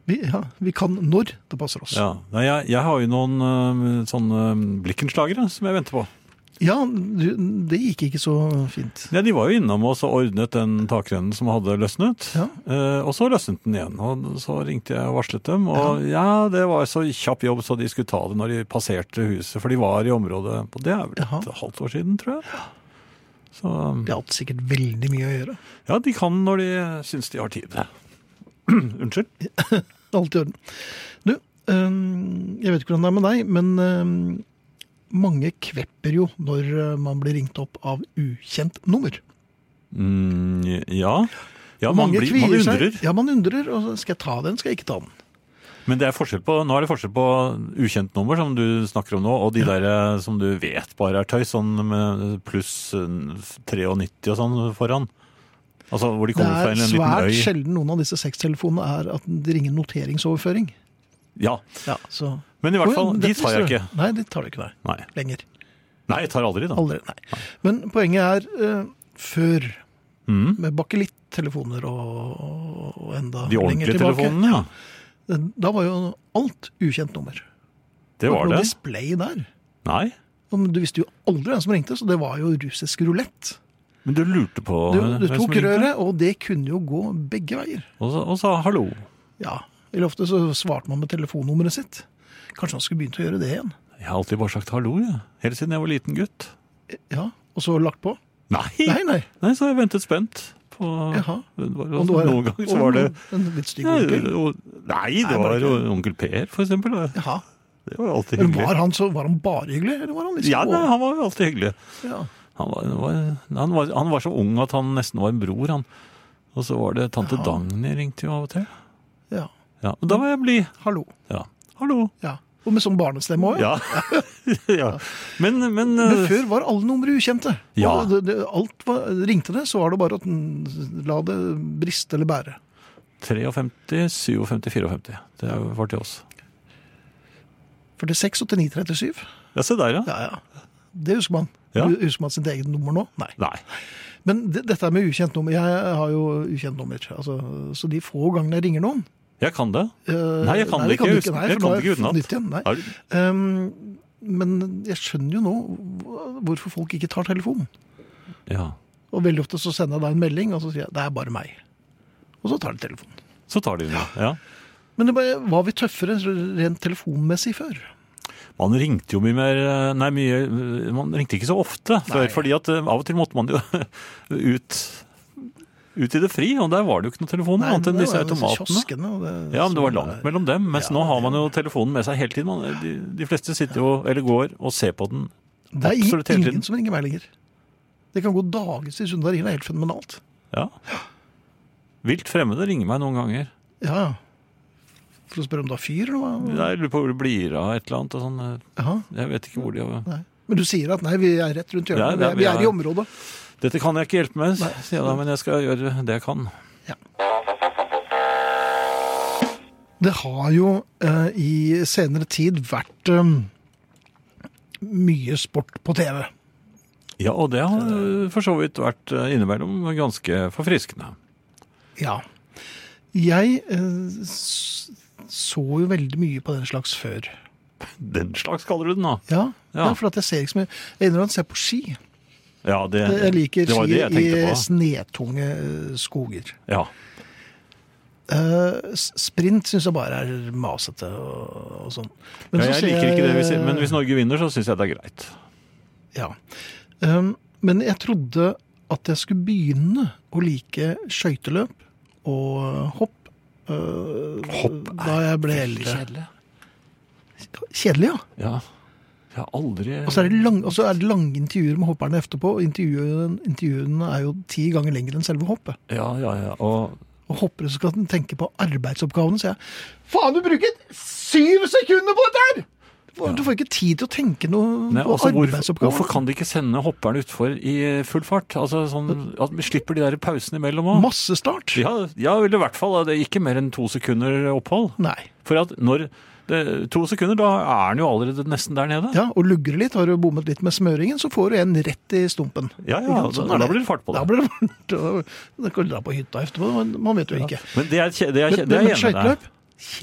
Speaker 2: Vi, ja, vi kan når det passer oss. Ja,
Speaker 3: Ja. Nei, jeg, jeg har jo noen øhm, sånne øhm, blikkenslagere som jeg venter på.
Speaker 2: du, det gikk ikke så fint.
Speaker 3: Ja, de var jo innom oss og ordnet den takrennen som hadde løsnet.
Speaker 2: Ja.
Speaker 3: Eh, og så løsnet den igjen. Og så ringte jeg og varslet dem. Og ja. det var så kjapp jobb, så de skulle ta det når de passerte huset. For de var i området og Det er vel et
Speaker 2: Jaha.
Speaker 3: halvt år siden, tror jeg. Så
Speaker 2: De har hatt sikkert veldig mye å gjøre.
Speaker 3: ja, de kan når de syns de har tid. Unnskyld.
Speaker 2: Alt i orden. Du, øhm, jeg vet ikke hvordan det er med deg, men øhm, mange kvepper jo når øh, man blir ringt opp av ukjent nummer.
Speaker 3: Mm, ja. Ja, man, blir, man
Speaker 2: kvier seg.
Speaker 3: undrer.
Speaker 2: Ja, man undrer. Og så skal jeg ta den, skal jeg ikke ta den?
Speaker 3: Men det er forskjell på, nå er det forskjell på ukjent nummer, som du snakker om nå, og de der eh, som du vet bare er tøys, sånn med pluss eh, 93 og sånn foran. Altså hvor de
Speaker 2: Det
Speaker 3: kommer fra
Speaker 2: er
Speaker 3: en liten
Speaker 2: svært
Speaker 3: øy.
Speaker 2: sjelden noen av disse sekstelefonene er at de ringer noteringsoverføring.
Speaker 3: Ja,
Speaker 2: Ja, så...
Speaker 3: men i hvert fall,
Speaker 2: Oi,
Speaker 3: de
Speaker 2: dette
Speaker 3: tar jeg
Speaker 2: visste
Speaker 3: ikke.
Speaker 2: du. Nei, de tar du ikke, nei.
Speaker 3: Nei,
Speaker 2: Lenger.
Speaker 3: Nei jeg tar aldri da.
Speaker 2: Aldri, nei. Men poenget er eh, før,
Speaker 3: Mm.
Speaker 2: med bakelitt-telefoner og, og enda
Speaker 3: De
Speaker 2: lenger
Speaker 3: ordentlige
Speaker 2: tilbake.
Speaker 3: telefonene, ja.
Speaker 2: Da var jo alt ukjent nummer.
Speaker 3: Det
Speaker 2: Det
Speaker 3: var
Speaker 2: var ikke noe
Speaker 3: det.
Speaker 2: display der.
Speaker 3: Nei,
Speaker 2: Men du visste jo aldri hvem som ringte, så det var jo russisk rulett.
Speaker 3: men du lurte på
Speaker 2: Du, du
Speaker 3: hvem som
Speaker 2: tok
Speaker 3: ringte.
Speaker 2: røret, og det kunne jo gå begge veier.
Speaker 3: Og, så- og sa hallo.
Speaker 2: Ja, eller ofte så svarte man med telefonnummeret sitt. Kanskje han skulle begynt å gjøre det igjen.
Speaker 3: Jeg har alltid bare sagt hallo, ja. Helt siden jeg var liten gutt.
Speaker 2: Ja, og så lagt på.
Speaker 3: Nei,
Speaker 2: Nei, nei.
Speaker 3: Nei så har jeg ventet spent. På,
Speaker 2: Jaha.
Speaker 3: Det var-
Speaker 2: Og det var-
Speaker 3: Altså, Noen ganger så var det...
Speaker 2: En litt stygg
Speaker 3: Nei,
Speaker 2: onkel.
Speaker 3: og- nei, det
Speaker 2: Nei,
Speaker 3: var
Speaker 2: bare
Speaker 3: jo onkel Per, for eksempel. da.
Speaker 2: Jaha.
Speaker 3: Det var jo alltid
Speaker 2: Men
Speaker 3: hyggelig.
Speaker 2: var han, så, var han bare hyggelig, eller var han litt
Speaker 3: Ja,
Speaker 2: sånn-
Speaker 3: nei, han var jo alltid hyggelig.
Speaker 2: Ja.
Speaker 3: Han var, var, han, var, han var så ung at han nesten var en bror, han. Og så var det tante
Speaker 2: Jaha.
Speaker 3: Dagny ringte jo av og til.
Speaker 2: ja.
Speaker 3: Ja, Men da var jeg blid.
Speaker 2: Hallo.
Speaker 3: Ja. Hallo.
Speaker 2: Ja. Og med sånn barnestemme òg.
Speaker 3: Ja. ja. Men, men
Speaker 2: Men
Speaker 3: eh,
Speaker 2: før var alle numre ukjente.
Speaker 3: Ja.
Speaker 2: Og det, det, alt var, ringte det, så var det bare at den- la det briste eller bære.
Speaker 3: eh, 53, 57, 54. Det er jo- var til oss.
Speaker 2: 46, 89, 37.
Speaker 3: Ja, se der, ja.
Speaker 2: Ja, ja. Det husker man.
Speaker 3: Ja.
Speaker 2: Du- Husker man sitt eget nummer nå? Nei.
Speaker 3: Nei.
Speaker 2: Men det, dette er med ukjent nummer. Jeg har jo ukjent nummer. Altså, så de få gangene jeg ringer noen
Speaker 3: Jeg kan det.
Speaker 2: eh,
Speaker 3: Nei, jeg kan det
Speaker 2: det
Speaker 3: ikke.
Speaker 2: du nei,
Speaker 3: Jeg
Speaker 2: for
Speaker 3: kan
Speaker 2: da
Speaker 3: det ikke
Speaker 2: er
Speaker 3: utenat.
Speaker 2: nytt igjen, nei.
Speaker 3: Er du-
Speaker 2: Um, men jeg skjønner jo nå hva- hvorfor folk ikke tar telefonen.
Speaker 3: Ja.
Speaker 2: Og veldig ofte så sender jeg deg en melding, og så sier jeg 'det er bare meg'. Og så tar de telefonen.
Speaker 3: Så tar de den, ja. ja.
Speaker 2: Men det bare, var vi tøffere rent telefonmessig før?
Speaker 3: Man ringte jo mye mer eh, Nei, mye, man ringte ikke så ofte før,
Speaker 2: Nei.
Speaker 3: fordi at eh, av og til måtte man jo ut, ut i det fri, og der var det jo ikke noen telefoner annet enn
Speaker 2: det
Speaker 3: disse
Speaker 2: var jo
Speaker 3: automatene.
Speaker 2: kioskene, og det,
Speaker 3: Ja, men det var
Speaker 2: så-
Speaker 3: langt mellom dem, mens
Speaker 2: eh, Ja,
Speaker 3: nå har man jo telefonen med seg hele tiden. Man, de, de fleste sitter jo, eller går, og ser på den.
Speaker 2: Det er
Speaker 3: absolutt hele
Speaker 2: ingen,
Speaker 3: tiden.
Speaker 2: ingen som ringer meg lenger. Det kan gå dagevis i Sundar Inn, det er helt fenomenalt.
Speaker 3: Ja. Vilt fremmede ringer meg noen ganger.
Speaker 2: Ja, ja. For å spørre om du har fyr, eller hva?
Speaker 3: Jeg lurer på hvor det blir av et eller annet, og sånn.
Speaker 2: Jaha,
Speaker 3: Jeg vet ikke hvor de har
Speaker 2: nei. Men du sier at nei, vi er rett rundt
Speaker 3: Ja,
Speaker 2: hjørnet.
Speaker 3: det
Speaker 2: vi, er,
Speaker 3: er- vi
Speaker 2: vi er i
Speaker 3: er-
Speaker 2: området.
Speaker 3: Dette kan jeg ikke hjelpe med, sier jeg da, men jeg skal gjøre det jeg kan.
Speaker 2: Det har jo eh, i senere tid vært eh, mye sport på TV.
Speaker 3: Ja, og det har eh, for så vidt vært eh, innimellom ganske forfriskende.
Speaker 2: Ja. Jeg eh, s- så jo veldig mye på den slags før.
Speaker 3: Den slags kaller du den, da?
Speaker 2: Ja,
Speaker 3: Ja.
Speaker 2: ja. for at jeg ser ikke så mye. Jeg innrømmer at jeg ser på ski.
Speaker 3: Ja, det,
Speaker 2: Jeg liker
Speaker 3: det var jo det jeg
Speaker 2: ski
Speaker 3: tenkte
Speaker 2: i
Speaker 3: på.
Speaker 2: snetunge eh, skoger.
Speaker 3: Ja.
Speaker 2: Eh, s- sprint syns jeg bare er masete og, og sånn. Men så
Speaker 3: ja, jeg
Speaker 2: ser
Speaker 3: liker ikke det, hvis, men hvis Norge vinner, så syns jeg det er greit.
Speaker 2: Ja. Um, men jeg trodde at jeg skulle begynne å like skøyteløp og hopp. eh, da jeg ble eldre. Kjedelig, ja.
Speaker 3: Ja. Jeg har aldri
Speaker 2: Og så er det, lang, og så er det lange intervjuer med hopperne etterpå. og Intervjuene, intervjuene er jo ti ganger lengre enn selve hoppet.
Speaker 3: Ja, ja, ja. Og
Speaker 2: Og hoppere skal tenke på arbeidsoppgavene, sier jeg. Faen, du bruker syv sekunder på dette her! Du får ikke tid til å tenke noe
Speaker 3: Nei,
Speaker 2: på
Speaker 3: altså, hvorfor,
Speaker 2: arbeidsoppgaver.
Speaker 3: hvorfor kan de ikke sende hopperne utfor i full fart? Altså, sånn, at vi slipper de der pausene imellom òg.
Speaker 2: Massestart?
Speaker 3: Ja, ja, vel, i hvert fall. da. Det er ikke mer enn to sekunder opphold.
Speaker 2: Nei.
Speaker 3: For at når det, To sekunder, da er den jo allerede nesten der nede.
Speaker 2: Ja, og lugger du litt, har du bommet litt med smøringen, så får du en rett i stumpen.
Speaker 3: Ja, ja,
Speaker 2: Ikke sant?
Speaker 3: da-
Speaker 2: er
Speaker 3: da blir det fart på det.
Speaker 2: Da blir det fart. og Da kan du dra på hytta etterpå, men man vet jo ikke.
Speaker 3: Men det er, kje- det er, kje-
Speaker 2: Men-
Speaker 3: det er
Speaker 2: men
Speaker 3: jeg enig med deg.
Speaker 2: skøyteløp?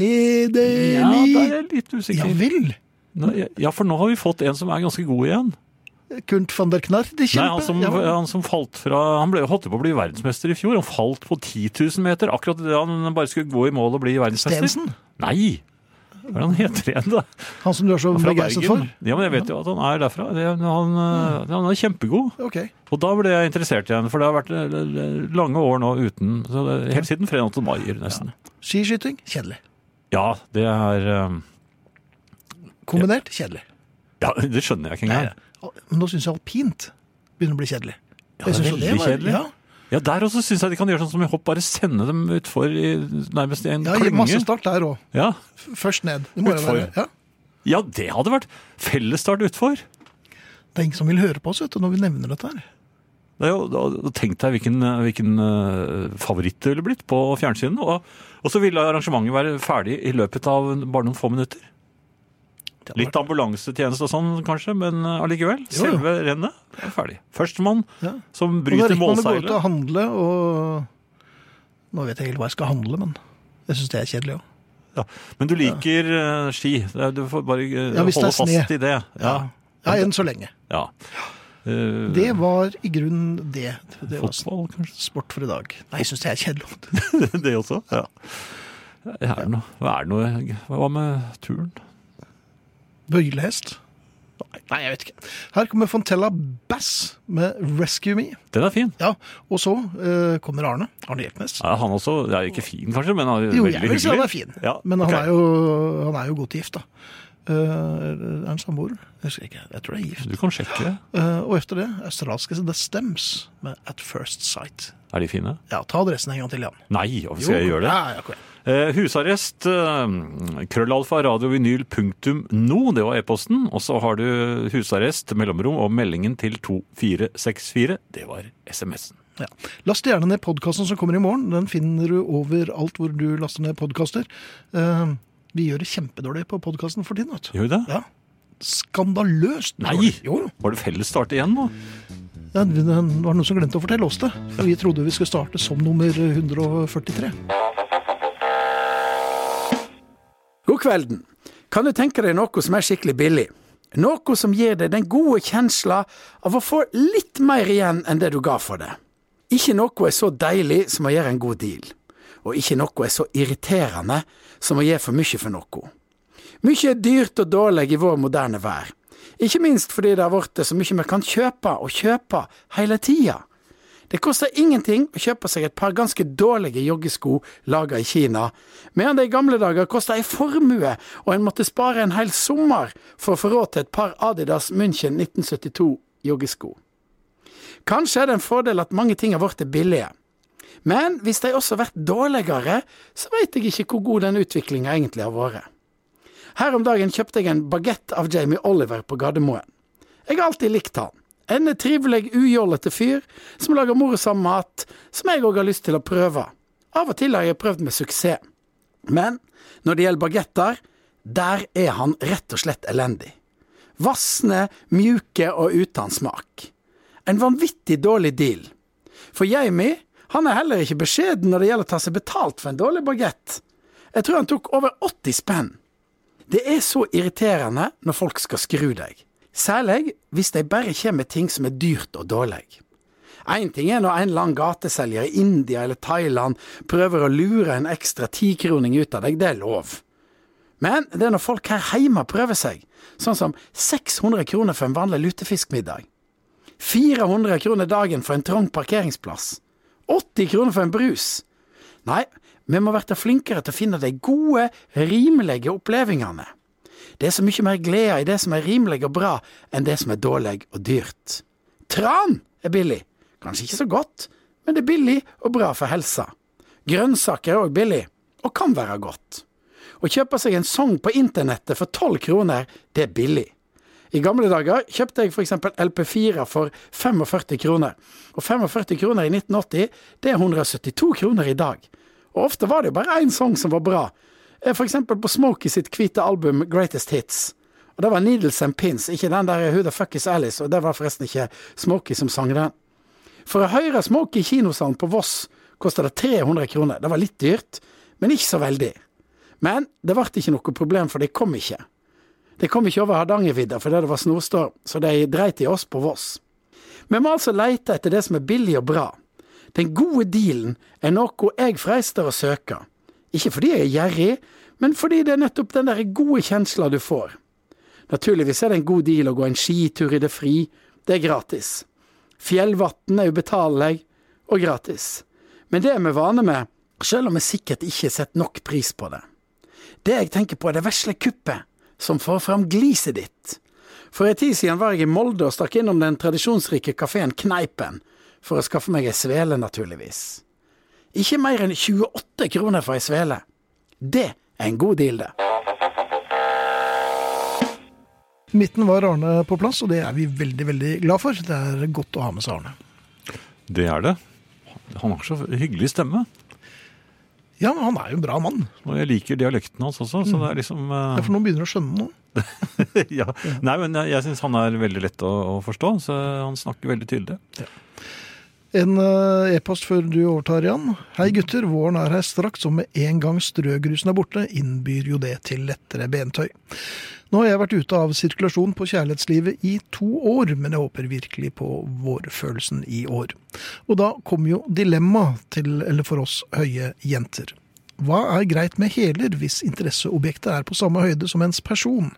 Speaker 2: Kjedelig!
Speaker 3: Ja, da er jeg litt
Speaker 2: Ja
Speaker 3: usikker.
Speaker 2: vel!
Speaker 3: Nå- Ja, for nå har vi fått en som er ganske god igjen.
Speaker 2: Kurt van der Knarr, det
Speaker 3: Nei,
Speaker 2: kjempe.
Speaker 3: han som,
Speaker 2: ja.
Speaker 3: han som falt fra Han ble, holdt på å bli verdensmester i fjor. Han falt på 10 000 meter akkurat idet han bare skulle gå i mål og bli verdensmester.
Speaker 2: Stensen,
Speaker 3: Nei! Hva er det han heter igjen, da?
Speaker 2: han som du er så
Speaker 3: Fra
Speaker 2: begeistret for.
Speaker 3: Bergen. Ja, men jeg vet jo at han er derfra. Det, han, eh, han er kjempegod.
Speaker 2: Ok.
Speaker 3: Og da ble jeg interessert igjen, for det har vært eh, lange år nå uten så det, Helt siden Frenate Maier, nesten.
Speaker 2: Skiskyting, kjedelig.
Speaker 3: Ja, det er eh,
Speaker 2: Kombinert, kjedelig.
Speaker 3: Ja, det skjønner jeg ikke engang.
Speaker 2: Al- Men nå syns jeg alpint begynner å bli kjedelig.
Speaker 3: Ja, det er
Speaker 2: synes jo
Speaker 3: veldig
Speaker 2: var-
Speaker 3: kjedelig.
Speaker 2: Ja,
Speaker 3: Ja, der også syns jeg de kan gjøre sånn som i hopp, bare sende dem utfor i nærmest i en
Speaker 2: ja gi masse
Speaker 3: klynge.
Speaker 2: start der òg.
Speaker 3: Ja.
Speaker 2: Først ned. Det må jo
Speaker 3: Utfor.
Speaker 2: være. Ja.
Speaker 3: ja, det hadde vært fellesstart utfor.
Speaker 2: Det er ingen som vil høre på oss vet du, når vi nevner dette her.
Speaker 3: Det er jo, da- da Tenk deg hvilken, hvilken eh, favoritt det ville blitt på fjernsynet. Og, og så ville arrangementet være ferdig i løpet av bare noen få minutter.
Speaker 2: Det hadde
Speaker 3: Litt ambulansetjeneste og sånn kanskje, men eh, allikevel.
Speaker 2: Jo, jo.
Speaker 3: Selve rennet er ferdig. Førstemann
Speaker 2: Ja.
Speaker 3: som
Speaker 2: Og da
Speaker 3: bryter
Speaker 2: rekker man å gå ut og
Speaker 3: målseilet.
Speaker 2: handle og Nå vet jeg ikke helt hva jeg skal handle, men jeg syns det er kjedelig òg.
Speaker 3: Ja. Men du liker eh, ski. Det er- Du får bare eh,
Speaker 2: Ja, hvis det er
Speaker 3: holde fast
Speaker 2: sne.
Speaker 3: i det. Ja.
Speaker 2: ja, enn så lenge.
Speaker 3: ja. Eh,
Speaker 2: Det var i grunnen det. Det var
Speaker 3: Fotball, kanskje.
Speaker 2: sport for i dag. Nei, jeg syns det er kjedelig.
Speaker 3: det også? Ja. Er det noe? Hva er det noe? Hva med turen?
Speaker 2: Bøylehest? Nei, jeg vet ikke. Her kommer Fontella Bass med 'Rescue Me'.
Speaker 3: Den er fin.
Speaker 2: Ja, Og så eh, kommer Arne. Arne Hjeltnes.
Speaker 3: Ja, han også det er ikke fin, kanskje, men han er
Speaker 2: Jo,
Speaker 3: veldig
Speaker 2: jeg vil
Speaker 3: hyggelig.
Speaker 2: si han er fin,
Speaker 3: Ja,
Speaker 2: men han,
Speaker 3: ok.
Speaker 2: er jo, han er jo godt gift, da. Eh, er han samboer? Jeg husker ikke. Jeg tror det er gift.
Speaker 3: Du kan sjekke det.
Speaker 2: Eh, og etter det australske The Stems med At First Sight.
Speaker 3: Er de fine?
Speaker 2: Ja, ta adressen en gang til, Jan.
Speaker 3: Nei, hvorfor skal jeg gjøre det?
Speaker 2: Ja, ja, kom igjen.
Speaker 3: Eh, husarrest, eh, krøllalfa radiovinyl.no, det var e-posten. Og så har du husarrest, mellomrom og meldingen til 2464. Det var SMS-en.
Speaker 2: Ja. Last gjerne ned podkasten som kommer i morgen. Den finner du overalt hvor du laster ned podkaster. Eh, vi gjør det kjempedårlig på podkasten for tiden. vet du.
Speaker 3: Gjør vi det?
Speaker 2: Ja. Skandaløst
Speaker 3: Nei!
Speaker 2: dårlig. Jo, jo.
Speaker 3: Var det fellesstart igjen nå?
Speaker 2: Ja, det var noen som glemte å fortelle oss det. For vi trodde vi skulle starte som nummer 143.
Speaker 5: God kvelden. Kan du tenke deg noe som er skikkelig billig? Noe som gir deg den gode kjensla av å få litt mer igjen enn det du ga for det. Ikke noe er så deilig som å gjøre en god deal. Og ikke noe er så irriterende som å gi for mye for noe. Mykje er dyrt og dårlig i vår moderne vær. Ikke minst fordi det har blitt så mye vi kan kjøpe og kjøpe hele tida. Det koster ingenting å kjøpe seg et par ganske dårlige joggesko laga i Kina, medan det i gamle dager kosta ei formue og en måtte spare en hel sommer for å få råd til et par Adidas München 1972-joggesko. Kanskje er det en fordel at mange ting har blitt billige, men hvis de også har vært dårligere, så veit jeg ikke hvor god den utviklinga egentlig har vært. Her om dagen kjøpte jeg en bagett av Jamie Oliver på Gardermoen. Jeg har alltid likt han. En trivelig, ujollete fyr som lager morsom mat, som jeg òg har lyst til å prøve. Av og til har jeg prøvd med suksess. Men når det gjelder bagetter, der er han rett og slett elendig. Vassende, mjuke og uten smak. En vanvittig dårlig deal. For Jamie, han er heller ikke beskjeden når det gjelder å ta seg betalt for en dårlig bagett. Jeg tror han tok over 80 spenn. Det er så irriterende når folk skal skru deg, særlig hvis de bare kommer med ting som er dyrt og dårlig. Én ting er når en lang gateselger i India eller Thailand prøver å lure en ekstra tikroning ut av deg, det er lov. Men det er når folk her hjemme prøver seg, sånn som 600 kroner for en vanlig lutefiskmiddag, 400 kroner dagen for en trang parkeringsplass, 80 kroner for en brus. Nei, vi må bli flinkere til å finne de gode, rimelige opplevelsene. Det er så mye mer glede i det som er rimelig og bra, enn det som er dårlig og dyrt. Tran er billig. Kanskje ikke så godt, men det er billig og bra for helsa. Grønnsaker er òg billig, og kan være godt. Å kjøpe seg en sang på internettet for tolv kroner, det er billig. I gamle dager kjøpte jeg f.eks. LP4 for 45 kroner. Og 45 kroner i 1980, det er 172 kroner i dag. Og ofte var det jo bare én sang som var bra. Eh, For eksempel på Smokey sitt hvite album Greatest Hits. Og det var Needles and Pins, ikke den der Who the Fuck Is Alice, og det var forresten ikke Smokey som sang den. For å høre Smokey i kinosalen på Voss kosta det 300 kroner. Det var litt dyrt, men ikke så veldig. Men det ble ikke noe problem, for de kom ikke. De kom ikke over Hardangervidda fordi det var snorstorm, så de dreit i oss på Voss. Vi må altså leite etter det som er billig og bra. Den gode dealen er noe jeg freister å søke. Ikke fordi jeg er gjerrig, men fordi det er nettopp den der gode kjensla du får. Naturligvis er det en god deal å gå en skitur i det fri, det er gratis. Fjellvatn er ubetalelig og gratis. Men det er vi vane med, selv om vi sikkert ikke setter nok pris på det. Det jeg tenker på er det vesle kuppet som får fram gliset ditt. For en tid siden var jeg i Molde og stakk innom den tradisjonsrike kafeen Kneipen, for å skaffe meg ei svele, naturligvis. Ikke mer enn 28 kroner for ei svele. Det er en god deal, det.
Speaker 2: Midten var Arne på plass, og det er vi veldig, veldig glad for. Det er godt å ha med seg Arne.
Speaker 3: Det er det. Han har så hyggelig stemme.
Speaker 2: Ja, men han er jo en bra mann.
Speaker 3: Og jeg liker dialekten hans også, så det er liksom eh,
Speaker 2: For nå begynner du å skjønne noe.
Speaker 3: ja. Nei, men jeg, jeg syns han er veldig lett å, å forstå, så han snakker veldig tydelig.
Speaker 2: En eh, e-post før du overtar, Jan. Hei gutter, våren er her straks, og med en gang strøgrusen er borte, innbyr jo det til lettere bentøy. Nå har jeg vært ute av sirkulasjon på kjærlighetslivet i to år, men jeg håper virkelig på vårfølelsen i år. Og da kommer jo dilemmaet til, eller for oss høye jenter. Hva er greit med heler hvis interesseobjektet er på samme høyde som ens person?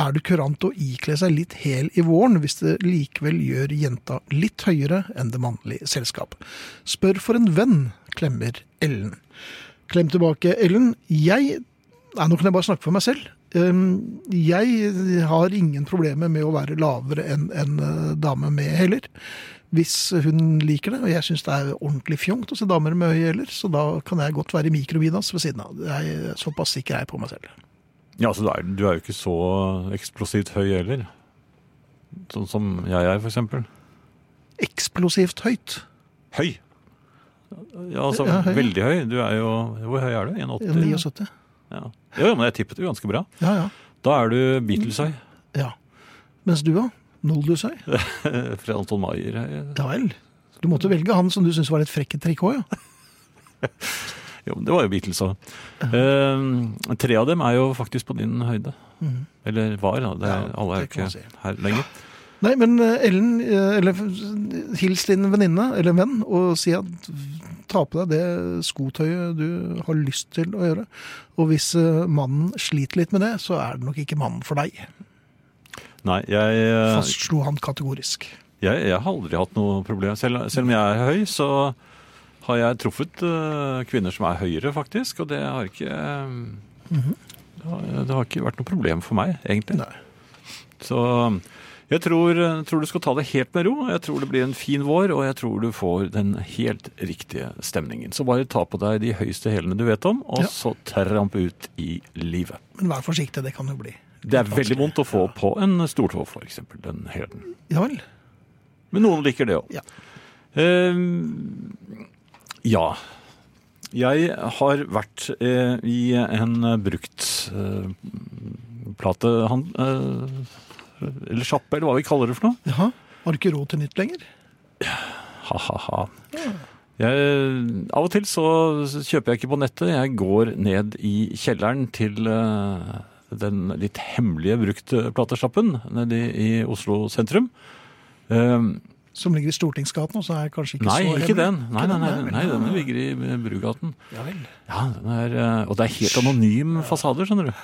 Speaker 2: Er det kurant å ikle seg litt hel i våren hvis det likevel gjør jenta litt høyere enn det mannlige selskap? Spør for en venn, klemmer Ellen. Klem tilbake, Ellen. Jeg Nei, nå kan jeg bare snakke for meg selv. Ehm, Jeg har ingen problemer med å være lavere enn en eh, dame med hæler. Hvis hun liker det, og jeg syns det er ordentlig fjongt å se damer med høye hæler, så da kan jeg godt være i mikrobinas ved siden av. Jeg, såpass sikker er jeg på meg selv.
Speaker 3: Ja, altså, du er, du er jo ikke så eksplosivt høy heller. Sånn som jeg er, for eksempel.
Speaker 2: Eksplosivt høyt.
Speaker 3: Høy! Ja, altså,
Speaker 2: Ja, høy.
Speaker 3: veldig høy. Du er jo Hvor høy er du? 1,80?
Speaker 2: 79.
Speaker 3: Ja. Jo, men jeg tippet jo ganske bra.
Speaker 2: Ja, ja.
Speaker 3: Da er du Beatles-høy.
Speaker 2: ja. Mens du, da? Noldus høy?
Speaker 3: Fred Anton Maier. eh,
Speaker 2: Ja vel. Du måtte velge han som du syntes var litt frekk i trikot, ja.
Speaker 3: Jo, men det var jo Beatles òg. Eh, tre av dem er jo faktisk på din høyde.
Speaker 2: Mhm.
Speaker 3: Eller var, da. Det er,
Speaker 2: Ja,
Speaker 3: alle er jo
Speaker 2: det kan
Speaker 3: ikke
Speaker 2: man si.
Speaker 3: her lenger.
Speaker 2: Nei, men eh, Ellen, eh, eller eh, hils din venninne eller venn og si at ta på deg det skotøyet du har lyst til å gjøre. Og hvis eh, mannen sliter litt med det, så er det nok ikke mannen for deg.
Speaker 3: Nei, jeg, eh,
Speaker 2: Fastslo han kategorisk.
Speaker 3: jeg, jeg har aldri hatt noe problem. Selv, selv om jeg er høy, så har jeg truffet eh, kvinner som er høyere, faktisk. Og det har ikke eh, det, har, det har ikke vært noe problem for meg, egentlig.
Speaker 2: Nei.
Speaker 3: Så jeg tror, eh, tror du skal ta det helt med ro. Jeg tror det blir en fin vår, og jeg tror du får den helt riktige stemningen. Så bare ta på deg de høyeste hælene du vet om, og
Speaker 2: Ja.
Speaker 3: så tramp ut i livet.
Speaker 2: Men vær forsiktig, det kan jo bli.
Speaker 3: Det er veldig vondt å få på en stortå, for eksempel, den hælen.
Speaker 2: Ja vel.
Speaker 3: Men noen liker det òg.
Speaker 2: Ja.
Speaker 3: ja. Jeg har vært eh, i en bruktplatehandel eh, platehan- eh, Eller sjappe, eller hva vi kaller det for noe.
Speaker 2: Jaha. Har du ikke råd til nytt lenger?
Speaker 3: Ha-ha-ha. Jeg, av og til så kjøper jeg ikke på nettet. Jeg går ned i kjelleren til eh, den litt hemmelige bruktplatesjappen nede i i Oslo sentrum. Eh,
Speaker 2: Som ligger i Stortingsgaten, og så er kanskje ikke
Speaker 3: Nei,
Speaker 2: så
Speaker 3: ikke
Speaker 2: hemmelig.
Speaker 3: den. Nei, nei, nei,
Speaker 2: vel.
Speaker 3: nei, den ligger i eh, Brugaten.
Speaker 2: Ja vel.
Speaker 3: Ja, den er, eh, og det er helt anonym fasader, skjønner du.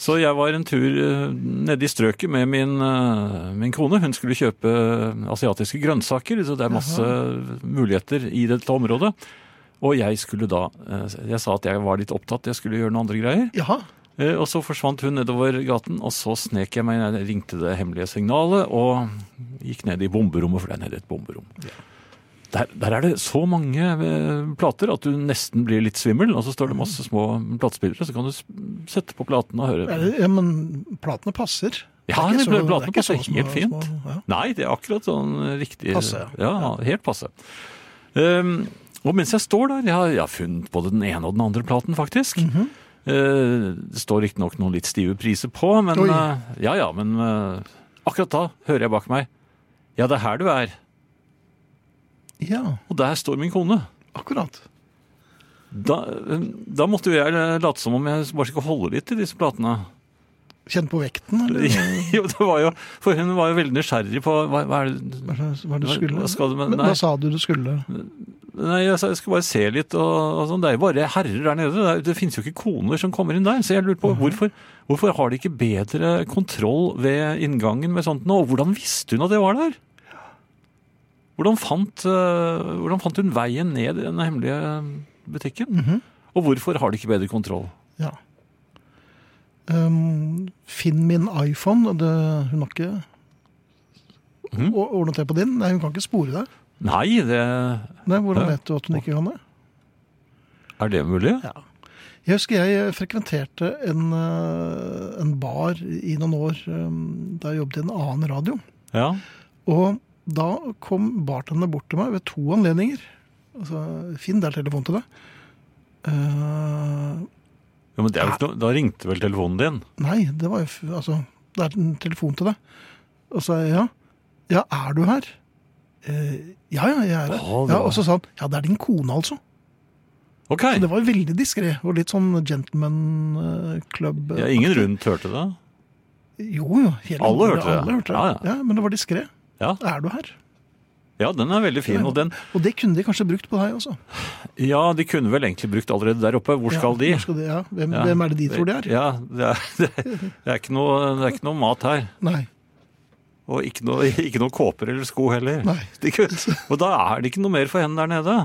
Speaker 3: Så jeg var en tur eh, nede i strøket med min, eh, min kone. Hun skulle kjøpe eh, asiatiske grønnsaker, så det er masse muligheter i dette området. Og jeg skulle da eh, Jeg sa at jeg var litt opptatt, jeg skulle gjøre noen andre greier.
Speaker 2: Jaha.
Speaker 3: Eh, Og så forsvant hun nedover gaten, og så snek jeg meg ned, jeg ringte det hemmelige signalet og gikk ned i bomberommet, for det er nede i et bomberom. Der, der er det så mange eh, plater at du nesten blir litt svimmel. Og så står det masse små platespillere, så kan du s- sette på platene og høre.
Speaker 2: Ja, men platene passer.
Speaker 3: Ja,
Speaker 2: Det er
Speaker 3: det
Speaker 2: ikke
Speaker 3: ble
Speaker 2: så-
Speaker 3: platene
Speaker 2: det er ikke
Speaker 3: passer
Speaker 2: så små-
Speaker 3: helt fint.
Speaker 2: små- ja.
Speaker 3: Nei, det er akkurat sånn riktig
Speaker 2: Passe,
Speaker 3: ja. helt passe. Ehm, og mens jeg står der, jeg har, jeg har funnet både den ene og den andre platen, faktisk.
Speaker 2: Mhm.
Speaker 3: Eh, det står riktignok noen litt stive priser på, men
Speaker 2: Oi.
Speaker 3: eh, Ja ja, men eh, akkurat da hører jeg bak meg Ja, det er her du er.
Speaker 2: Ja,
Speaker 3: Og der står min kone.
Speaker 2: akkurat.
Speaker 3: Da, eh, da måtte jo jeg eh, late som om jeg bare skulle holde litt i disse platene.
Speaker 2: Kjenn på vekten, eller
Speaker 3: jo, det var jo, for hun var jo veldig nysgjerrig på hva, hva er det
Speaker 2: hva slags- hva du
Speaker 3: Hva-
Speaker 2: skulle?
Speaker 3: hva skal du med-
Speaker 2: Men
Speaker 3: nei.
Speaker 2: hva sa du du skulle?
Speaker 3: Nei, jeg, sa- jeg skal bare se litt og, og sånn. Det er jo bare herrer der nede. Det, er, det finnes jo ikke koner som kommer inn der. Så jeg lurer
Speaker 2: Mhm.
Speaker 3: på hvorfor, hvorfor har de ikke bedre kontroll ved inngangen med sånt nå? Og hvordan visste hun at det var der? Hvordan fant, eh, hvordan fant hun veien ned i den hemmelige butikken?
Speaker 2: Mhm.
Speaker 3: Og hvorfor har de ikke bedre kontroll?
Speaker 2: Ja. Ehm, finn min iPhone. og Det, hun har ikke
Speaker 3: Mhm.
Speaker 2: Å- ordnet det på din? Nei, hun kan ikke spore deg.
Speaker 3: Nei, det
Speaker 2: Nei, hvordan
Speaker 3: Ja.
Speaker 2: vet du at hun ikke kan det?
Speaker 3: er det mulig?
Speaker 2: Jeg husker jeg eh, frekventerte en, eh, en bar i noen år eh, da jeg jobbet i en annen radio.
Speaker 3: Ja.
Speaker 2: Og da kom bartenderne bort til meg ved to anledninger. Altså, Finn, det er telefon til deg. Eh,
Speaker 3: Jo, men det er jo ikke noe, da ringte vel telefonen din?
Speaker 2: nei, det var jo f Altså, det er en telefon til deg. Og så sa jeg ja. Ja, er du her? «Eh, ja, ja, jeg er her.
Speaker 3: Å, det
Speaker 2: ja,
Speaker 3: var-
Speaker 2: og så sa han ja, det er din kone, altså.
Speaker 3: Ok.
Speaker 2: Så det var jo veldig diskré. Og litt sånn gentleman eh, club.
Speaker 3: Ja, ingen rundt hørte det?
Speaker 2: Jo, jo. hele-
Speaker 3: Alle hørte det.
Speaker 2: Alle hørte det.
Speaker 3: Ja,
Speaker 2: Ja,
Speaker 3: ja.
Speaker 2: men det var diskré.
Speaker 3: Ja.
Speaker 2: Er du her?
Speaker 3: Ja, den er veldig fin. Og den,
Speaker 2: Og det kunne de kanskje brukt på deg også.
Speaker 3: Ja, de kunne vel egentlig brukt allerede der oppe. Hvor skal
Speaker 2: ja,
Speaker 3: de?
Speaker 2: Hvor skal de ja. Hvem,
Speaker 3: Ja.
Speaker 2: hvem er det de tror de er?
Speaker 3: Ja, det er, det er, det er, ikke, noe, det er ikke noe mat her.
Speaker 2: Nei.
Speaker 3: Og ikke noe, ikke noe kåper eller sko heller.
Speaker 2: Nei.
Speaker 3: Det kunne- og da er det ikke noe mer for henne der nede.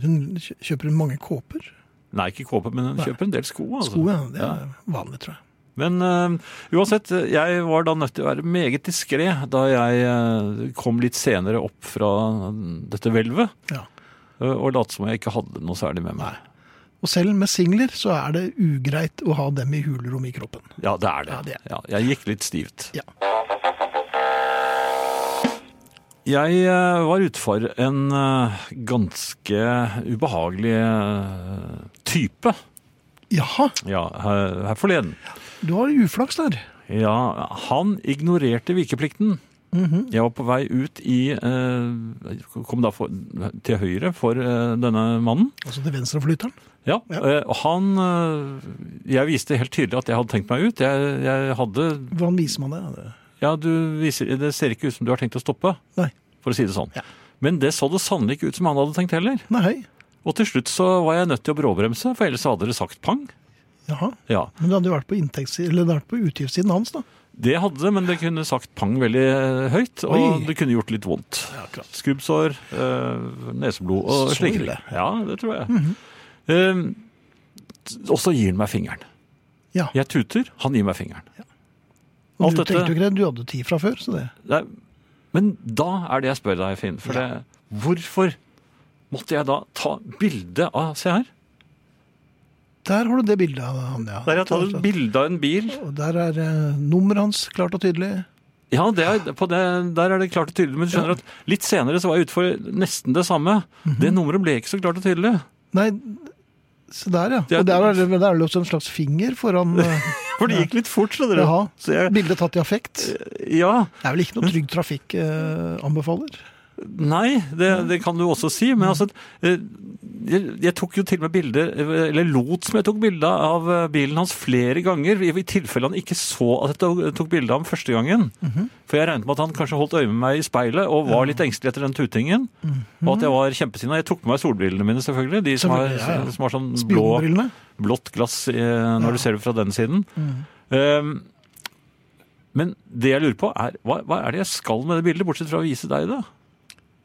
Speaker 2: Hun kjø- kjøper hun mange kåper?
Speaker 3: Nei, ikke kåper, men hun kjøper en del sko. Altså.
Speaker 2: Sko, ja. Det er vanlig, tror jeg.
Speaker 3: Men øh, uansett, jeg var da nødt til å være meget diskré da jeg øh, kom litt senere opp fra mm, dette hvelvet.
Speaker 2: Ja.
Speaker 3: øh, Og lot som jeg ikke hadde noe særlig med meg.
Speaker 2: Og selv med singler så er det ugreit å ha dem i hulrom i kroppen.
Speaker 3: Ja, det er det.
Speaker 2: Ja, det er
Speaker 3: Ja, jeg gikk litt stivt.
Speaker 2: Ja.
Speaker 3: Jeg eh, var ute for en eh, ganske ubehagelig eh, type
Speaker 2: Jaha,
Speaker 3: ja, her, her forleden.
Speaker 2: du har uflaks der.
Speaker 3: Ja, han ignorerte vikeplikten.
Speaker 2: Mhm.
Speaker 3: Jeg var på vei ut i eh, Kom da for, til høyre for eh, denne mannen.
Speaker 2: Altså til venstre for lytteren.
Speaker 3: Ja,
Speaker 2: Ja.
Speaker 3: eh, og han eh, Jeg viste helt tydelig at jeg hadde tenkt meg ut. Jeg, jeg hadde
Speaker 2: Hvordan viser man det? det?
Speaker 3: Ja, du viser, det ser ikke ut som du har tenkt å stoppe,
Speaker 2: Nei.
Speaker 3: for å si det sånn.
Speaker 2: Ja.
Speaker 3: Men det så det sannelig ikke ut som han hadde tenkt heller.
Speaker 2: Nei.
Speaker 3: Og til slutt så var jeg nødt til å bråbremse, for ellers hadde det sagt pang.
Speaker 2: Jaha.
Speaker 3: Ja,
Speaker 2: Men det hadde jo vært på, inntektssiden- eller det hadde vært på utgiftssiden hans, da.
Speaker 3: det hadde det, men det kunne sagt pang veldig eh, høyt, og
Speaker 2: Oi.
Speaker 3: det kunne gjort litt vondt.
Speaker 2: akkurat.
Speaker 3: Skrubbsår, eh, neseblod og
Speaker 2: Så
Speaker 3: slike ting.
Speaker 2: ille.
Speaker 3: Ja, det tror jeg.
Speaker 2: Mhm.
Speaker 3: Eh, og så gir han meg fingeren.
Speaker 2: Ja.
Speaker 3: Jeg tuter, han gir meg fingeren.
Speaker 2: Og
Speaker 3: alt
Speaker 2: du
Speaker 3: dette-
Speaker 2: tenkte jo ikke det, du hadde ti fra før, så det
Speaker 3: Nei, men da er det jeg spør deg, Finn. For det, hvorfor måtte jeg da ta bilde av Se her.
Speaker 2: Der har du det bildet av han, ja.
Speaker 3: Der jeg tar et bilde av en bil.
Speaker 2: Og der er eh, nummeret hans klart og tydelig.
Speaker 3: Ja, det er, på det, Der er det klart og tydelig. Men du skjønner at litt senere så var jeg ute for nesten det samme.
Speaker 2: Mhm.
Speaker 3: Det nummeret ble ikke så klart og tydelig.
Speaker 2: Nei, se der, ja.
Speaker 3: Det er-
Speaker 2: Og der er det men der er det også en slags finger foran eh,
Speaker 3: For det gikk litt fort, skjønner du.
Speaker 2: Jaha.
Speaker 3: Så jeg,
Speaker 2: Bildet tatt i affekt.
Speaker 3: ja,
Speaker 2: Det er vel ikke noe Trygg Trafikk eh, anbefaler?
Speaker 3: Nei, det, det kan du også si.
Speaker 2: Mm.
Speaker 3: Men altså, eh, jeg, jeg tok jo til og med bilder, eh, eller lot som jeg tok bilde av eh, bilen hans flere ganger, i, i tilfelle han ikke så at jeg to- tok bilde av ham første gangen.
Speaker 2: Mhm.
Speaker 3: For jeg regnet med at han kanskje holdt øye med meg i speilet og var litt engstelig etter den tutingen.
Speaker 2: Mhm.
Speaker 3: Og at jeg var kjempesinna. Jeg tok med meg solbrillene mine, selvfølgelig. De som har,
Speaker 2: Selvfølgelig, ja, ja.
Speaker 3: som har sånn blå
Speaker 2: Spionbrillene?
Speaker 3: blått glass eh, når du ser det fra den siden.
Speaker 2: Mhm.
Speaker 3: Um, men det jeg lurer på, er hva, hva er det jeg skal med det bildet, bortsett fra å vise deg det?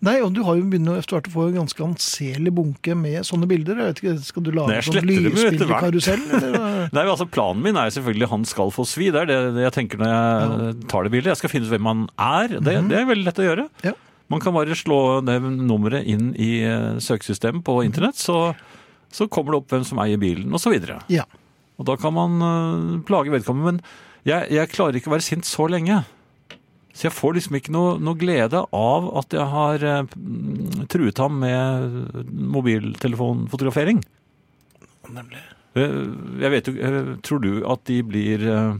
Speaker 2: Nei, og du har jo begynt å- etter hvert å få en ganske anselig bunke med sånne bilder. Jeg vet ikke, Skal du
Speaker 3: Nei,
Speaker 2: lage
Speaker 3: jeg
Speaker 2: sånn
Speaker 3: sletter dem jo etter hvert.
Speaker 2: lysbildekarusell? eller?
Speaker 3: Nei, altså Planen min er selvfølgelig han skal få svi. Det er det det jeg tenker når jeg tar det bildet. Jeg skal finne ut hvem han er. Det, det er veldig lett å gjøre.
Speaker 2: Ja.
Speaker 3: Man kan bare slå det nummeret inn i eh, søkesystemet på internett, så, så kommer det opp hvem som eier bilen, osv. Og, så
Speaker 2: Ja.
Speaker 3: og da kan man eh, plage vedkommende. Men jeg, jeg klarer ikke å være sint så lenge. Så jeg får liksom ikke noe, noe glede av at jeg har eh, mm, truet ham med eh, mobiltelefonfotografering.
Speaker 2: Nemlig.
Speaker 3: Eh, Jeg vet jo, eh, Tror du at de blir eh,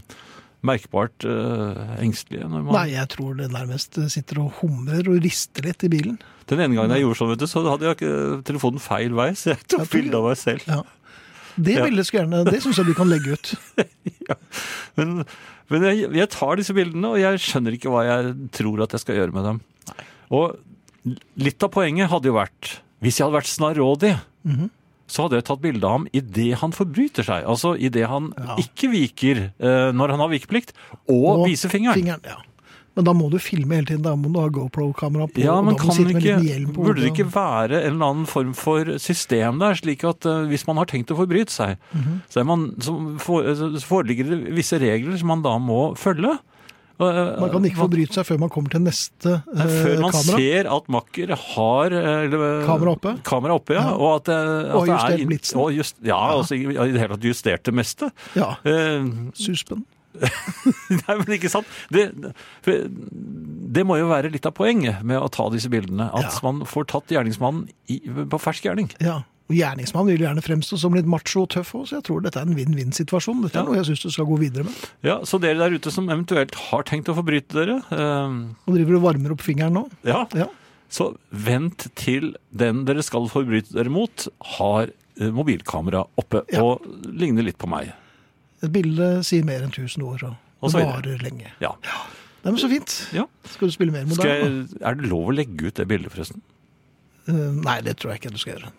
Speaker 3: merkbart eh, engstelige? Når man...
Speaker 2: Nei, jeg tror det nærmest sitter og humrer og rister litt i bilen.
Speaker 3: Den ene gangen jeg gjorde sånn, vet du, så hadde jeg ikke telefonen feil vei, så jeg tok
Speaker 2: Jeg tror-
Speaker 3: bilde av meg selv.
Speaker 2: Ja. Det
Speaker 3: Ja.
Speaker 2: bildet skulle gjerne Det syns jeg du kan legge ut.
Speaker 3: Men, men jeg, jeg tar disse bildene, og jeg skjønner ikke hva jeg tror at jeg skal gjøre med dem. Og litt av poenget hadde jo vært, hvis jeg hadde vært snarrådig, så hadde jeg tatt bilde av ham idet han forbryter seg. Altså idet han
Speaker 2: Ja.
Speaker 3: ikke viker eh, når han har vikeplikt, og, viser fingeren.
Speaker 2: ja. Men da må du filme hele tiden. Da må du ha GoPro-kamera på.
Speaker 3: Ja,
Speaker 2: og
Speaker 3: men
Speaker 2: da må
Speaker 3: kan
Speaker 2: du sitte med en
Speaker 3: ikke,
Speaker 2: liten hjelm på
Speaker 3: burde det
Speaker 2: hodet.
Speaker 3: ikke være en eller annen form for system der, slik at eh, hvis man har tenkt å forbryte seg,
Speaker 2: Mhm.
Speaker 3: så, er man, så, for, eh, så foreligger det visse regler som man da må følge? Eh,
Speaker 2: Man kan ikke
Speaker 3: man-
Speaker 2: forbryte seg før man kommer til neste eh,
Speaker 3: Nei, Før man
Speaker 2: kamera.
Speaker 3: ser at makker har eh, eller, eh,
Speaker 2: Kamera oppe.
Speaker 3: kamera oppe, ja,
Speaker 2: Ja.
Speaker 3: Og at, eh, at
Speaker 2: Og
Speaker 3: det er
Speaker 2: justert
Speaker 3: in-
Speaker 2: blitsen.
Speaker 3: Og just, ja, altså, i i det hele tatt justert det meste.
Speaker 2: Ja,
Speaker 3: Eh,
Speaker 2: suspen.
Speaker 3: Nei, men ikke sant? Det, for det må jo være litt av poenget med å ta disse bildene. At
Speaker 2: Ja.
Speaker 3: man får tatt gjerningsmannen i, på fersk gjerning.
Speaker 2: Ja. Og Gjerningsmannen vil gjerne fremstå som litt macho og tøff òg, så jeg tror dette er en vinn-vinn-situasjon. Dette
Speaker 3: Ja.
Speaker 2: er noe jeg syns du skal gå videre med.
Speaker 3: Ja, Så dere der ute som eventuelt har tenkt å forbryte dere, eh,
Speaker 2: Og driver og varmer opp fingeren nå.
Speaker 3: ja,
Speaker 2: Ja.
Speaker 3: så vent til den dere skal forbryte dere mot, har eh, mobilkamera oppe
Speaker 2: Ja.
Speaker 3: og ligner litt på meg.
Speaker 2: Et bilde sier mer enn 1000 ord,
Speaker 3: Og
Speaker 2: og
Speaker 3: så
Speaker 2: det
Speaker 3: videre.
Speaker 2: varer lenge.
Speaker 3: Ja.
Speaker 2: Nei, men Så fint.
Speaker 3: ja.
Speaker 2: Skal du spille mer
Speaker 3: Skal
Speaker 2: moderne?
Speaker 3: jeg, er det lov å legge ut det bildet, forresten?
Speaker 2: Eh, Nei, det tror jeg ikke du skal gjøre.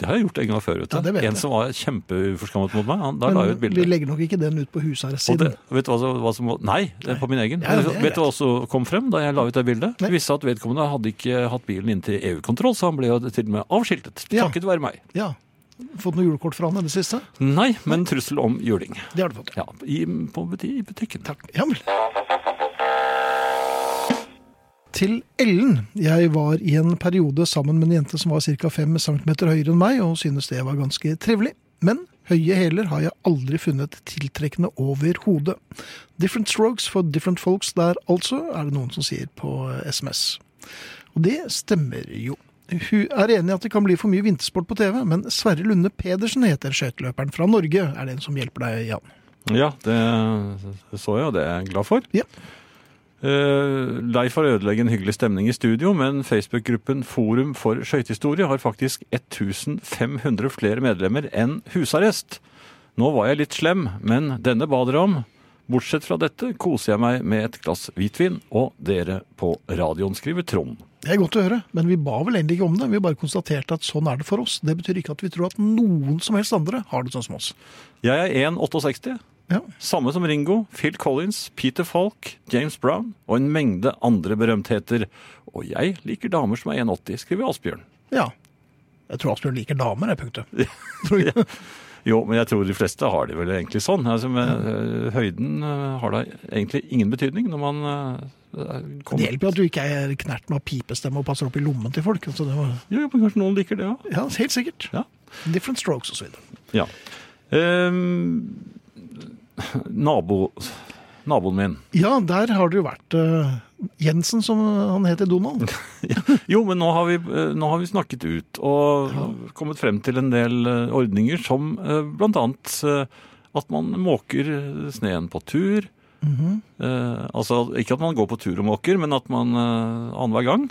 Speaker 3: Det har jeg gjort en gang før. vet du.
Speaker 2: Ja, det vet
Speaker 3: en
Speaker 2: jeg.
Speaker 3: som var kjempeuforskammet mot meg, han, der la jeg ut
Speaker 2: Men vi
Speaker 3: bilde.
Speaker 2: legger nok ikke den ut på
Speaker 3: Og det,
Speaker 2: husarrestsiden.
Speaker 3: vet du hva, som- hva som Nei, det er på min egen.
Speaker 2: Ja, ja, det er
Speaker 3: vet du hva som kom frem da jeg la ut det bildet?
Speaker 2: Nei.
Speaker 3: Det viste seg at vedkommende hadde ikke hatt bilen inn til EU-kontroll, så han ble jo til og med avskiltet.
Speaker 2: Ja.
Speaker 3: Takket være meg.
Speaker 2: Ja. Fått noe julekort fra han i det siste?
Speaker 3: Nei, men trussel om juling.
Speaker 2: Det har du fått.
Speaker 3: Ja, i, på buti- i butikken.
Speaker 2: Takk. Ja vel. Til Ellen. Jeg var i en periode sammen med en jente som var ca. 5 cm høyere enn meg, og synes det var ganske trivelig. Men høye hæler har jeg aldri funnet tiltrekkende overhodet. Different strokes for different folks der altså, er det noen som sier på SMS. Og det stemmer jo. Hun er enig i at det kan bli for mye vintersport på TV, men Sverre Lunde Pedersen heter skøyteløperen fra Norge, er det en som hjelper deg, Jan.
Speaker 3: Ja, det så jeg, og det er jeg glad for.
Speaker 2: Ja.
Speaker 3: Eh, lei for å ødelegge en hyggelig stemning i studio, men Facebook-gruppen Forum for skøytehistorie har faktisk 1500 flere medlemmer enn husarrest. Nå var jeg litt slem, men denne ba dere om. Bortsett fra dette koser jeg meg med et glass hvitvin og dere på radioen, skriver Trond.
Speaker 2: Det er godt å høre, men vi ba vel egentlig ikke om det. Vi bare konstaterte at sånn er det for oss. Det betyr ikke at vi tror at noen som helst andre har det sånn som oss.
Speaker 3: Jeg er 1,68.
Speaker 2: Ja,
Speaker 3: Samme som Ringo, Phil Collins, Peter Falk, James Brown og en mengde andre berømtheter. Og jeg liker damer som er 1,80, skriver Asbjørn.
Speaker 2: ja. Jeg tror Asbjørn liker damer, det punktet. Tror jeg.
Speaker 3: Jo, men jeg tror de fleste har det vel egentlig sånn. Altså, men, øh, høyden øh, har da egentlig ingen betydning når man øh,
Speaker 2: Det
Speaker 3: kommer
Speaker 2: hjelper jo at du ikke er knerten av pipestemme og passer opp i lommen til folk. Altså, det var,
Speaker 3: Jo, men kanskje noen liker det òg.
Speaker 2: ja, helt sikkert.
Speaker 3: Ja.
Speaker 2: Different strokes og så videre.
Speaker 3: ja. Ehm, nabo, naboen min.
Speaker 2: Ja, der har det jo vært eh, Jensen, som han heter Donald.
Speaker 3: Jo, men nå har vi, øh, nå har vi snakket ut og kommet frem til en del øh, ordninger som øh, blant annet øh, at man måker øh, sneen på tur. Eh, altså ikke at man går på tur og måker, men at man eh, annenhver gang.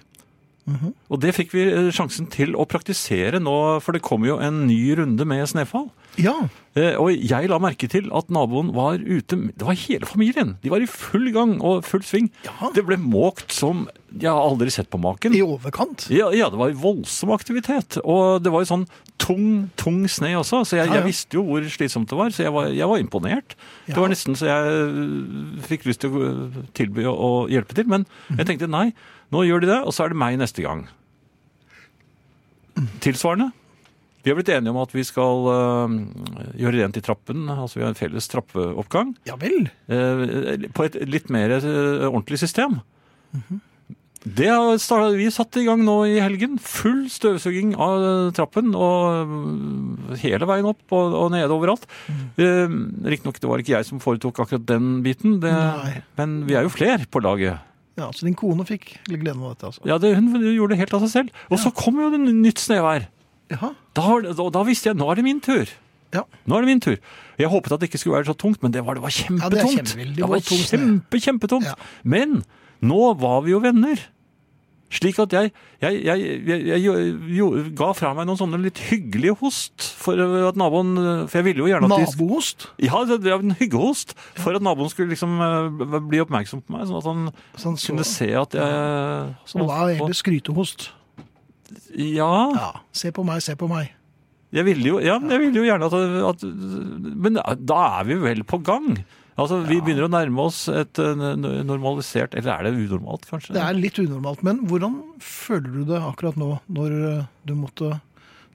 Speaker 3: Og det fikk vi eh, sjansen til å praktisere nå, for det kom jo en ny runde med snøfall.
Speaker 2: Ja,
Speaker 3: Eh, og jeg la merke til at naboen var ute Det var hele familien! De var i full gang og full sving.
Speaker 2: Ja.
Speaker 3: Det ble måkt som Jeg har aldri sett på maken.
Speaker 2: i overkant.
Speaker 3: Ja, ja, det var voldsom aktivitet. Og det var jo sånn tung, tung sne også. Så jeg,
Speaker 2: Ja, ja.
Speaker 3: jeg visste jo hvor slitsomt det var, så jeg var, jeg var imponert.
Speaker 2: Ja.
Speaker 3: Det var nesten så jeg øh, fikk lyst til å øh, tilby å å hjelpe til. Men jeg tenkte nei, nå gjør de det, og så er det meg neste gang. Tilsvarende. Vi har blitt enige om at vi skal øh, gjøre rent i trappen. Altså vi har en felles trappeoppgang
Speaker 2: Ja vel.
Speaker 3: eh, på et litt mer eh, ordentlig system. Det har startet, vi satt i gang nå i helgen. Full støvsuging av eh, trappen og mm, hele veien opp og, og nede overalt. Mm. Riktignok det var ikke jeg som foretok akkurat den biten, det,
Speaker 2: Nei.
Speaker 3: men vi er jo flere på laget.
Speaker 2: Ja, Så din kone fikk gleden av dette, altså?
Speaker 3: Ja, det, Hun gjorde det helt av seg selv. Og så kom jo det nytt snevær.
Speaker 2: Jaha.
Speaker 3: Da, har- da, da visste jeg nå er det min tur.
Speaker 2: Ja.
Speaker 3: Nå er det min tur. Jeg håpet at det ikke skulle være så tungt, men det var, det var
Speaker 2: Ja, det er
Speaker 3: kjempetungt.
Speaker 2: kjempevillig.
Speaker 3: det var
Speaker 2: Det var tungt,
Speaker 3: kjempe, kjempetungt.
Speaker 2: Ja.
Speaker 3: Men nå var vi jo venner. Slik at jeg, jeg, jeg, jeg, jeg jo, jo, ga fra meg noen sånne litt hyggelige host, for at naboen For jeg ville jo gjerne at de
Speaker 2: Naboost?
Speaker 3: Ja, det det var en hyggehost, for at naboen skulle liksom eh, bli oppmerksom på meg, sånn at han
Speaker 2: Så han så-
Speaker 3: kunne se at jeg
Speaker 2: Som da er egentlig skrytehost.
Speaker 3: Ja.
Speaker 2: Ja. Se på meg, se på meg.
Speaker 3: Jeg ville jo, ja, men jeg ville jo gjerne at, at Men da er vi vel på gang? Altså, Vi begynner å nærme oss et eh, n- normalisert Eller er det unormalt, kanskje?
Speaker 2: Det er litt unormalt, men hvordan føler du det akkurat nå, når eh, du måtte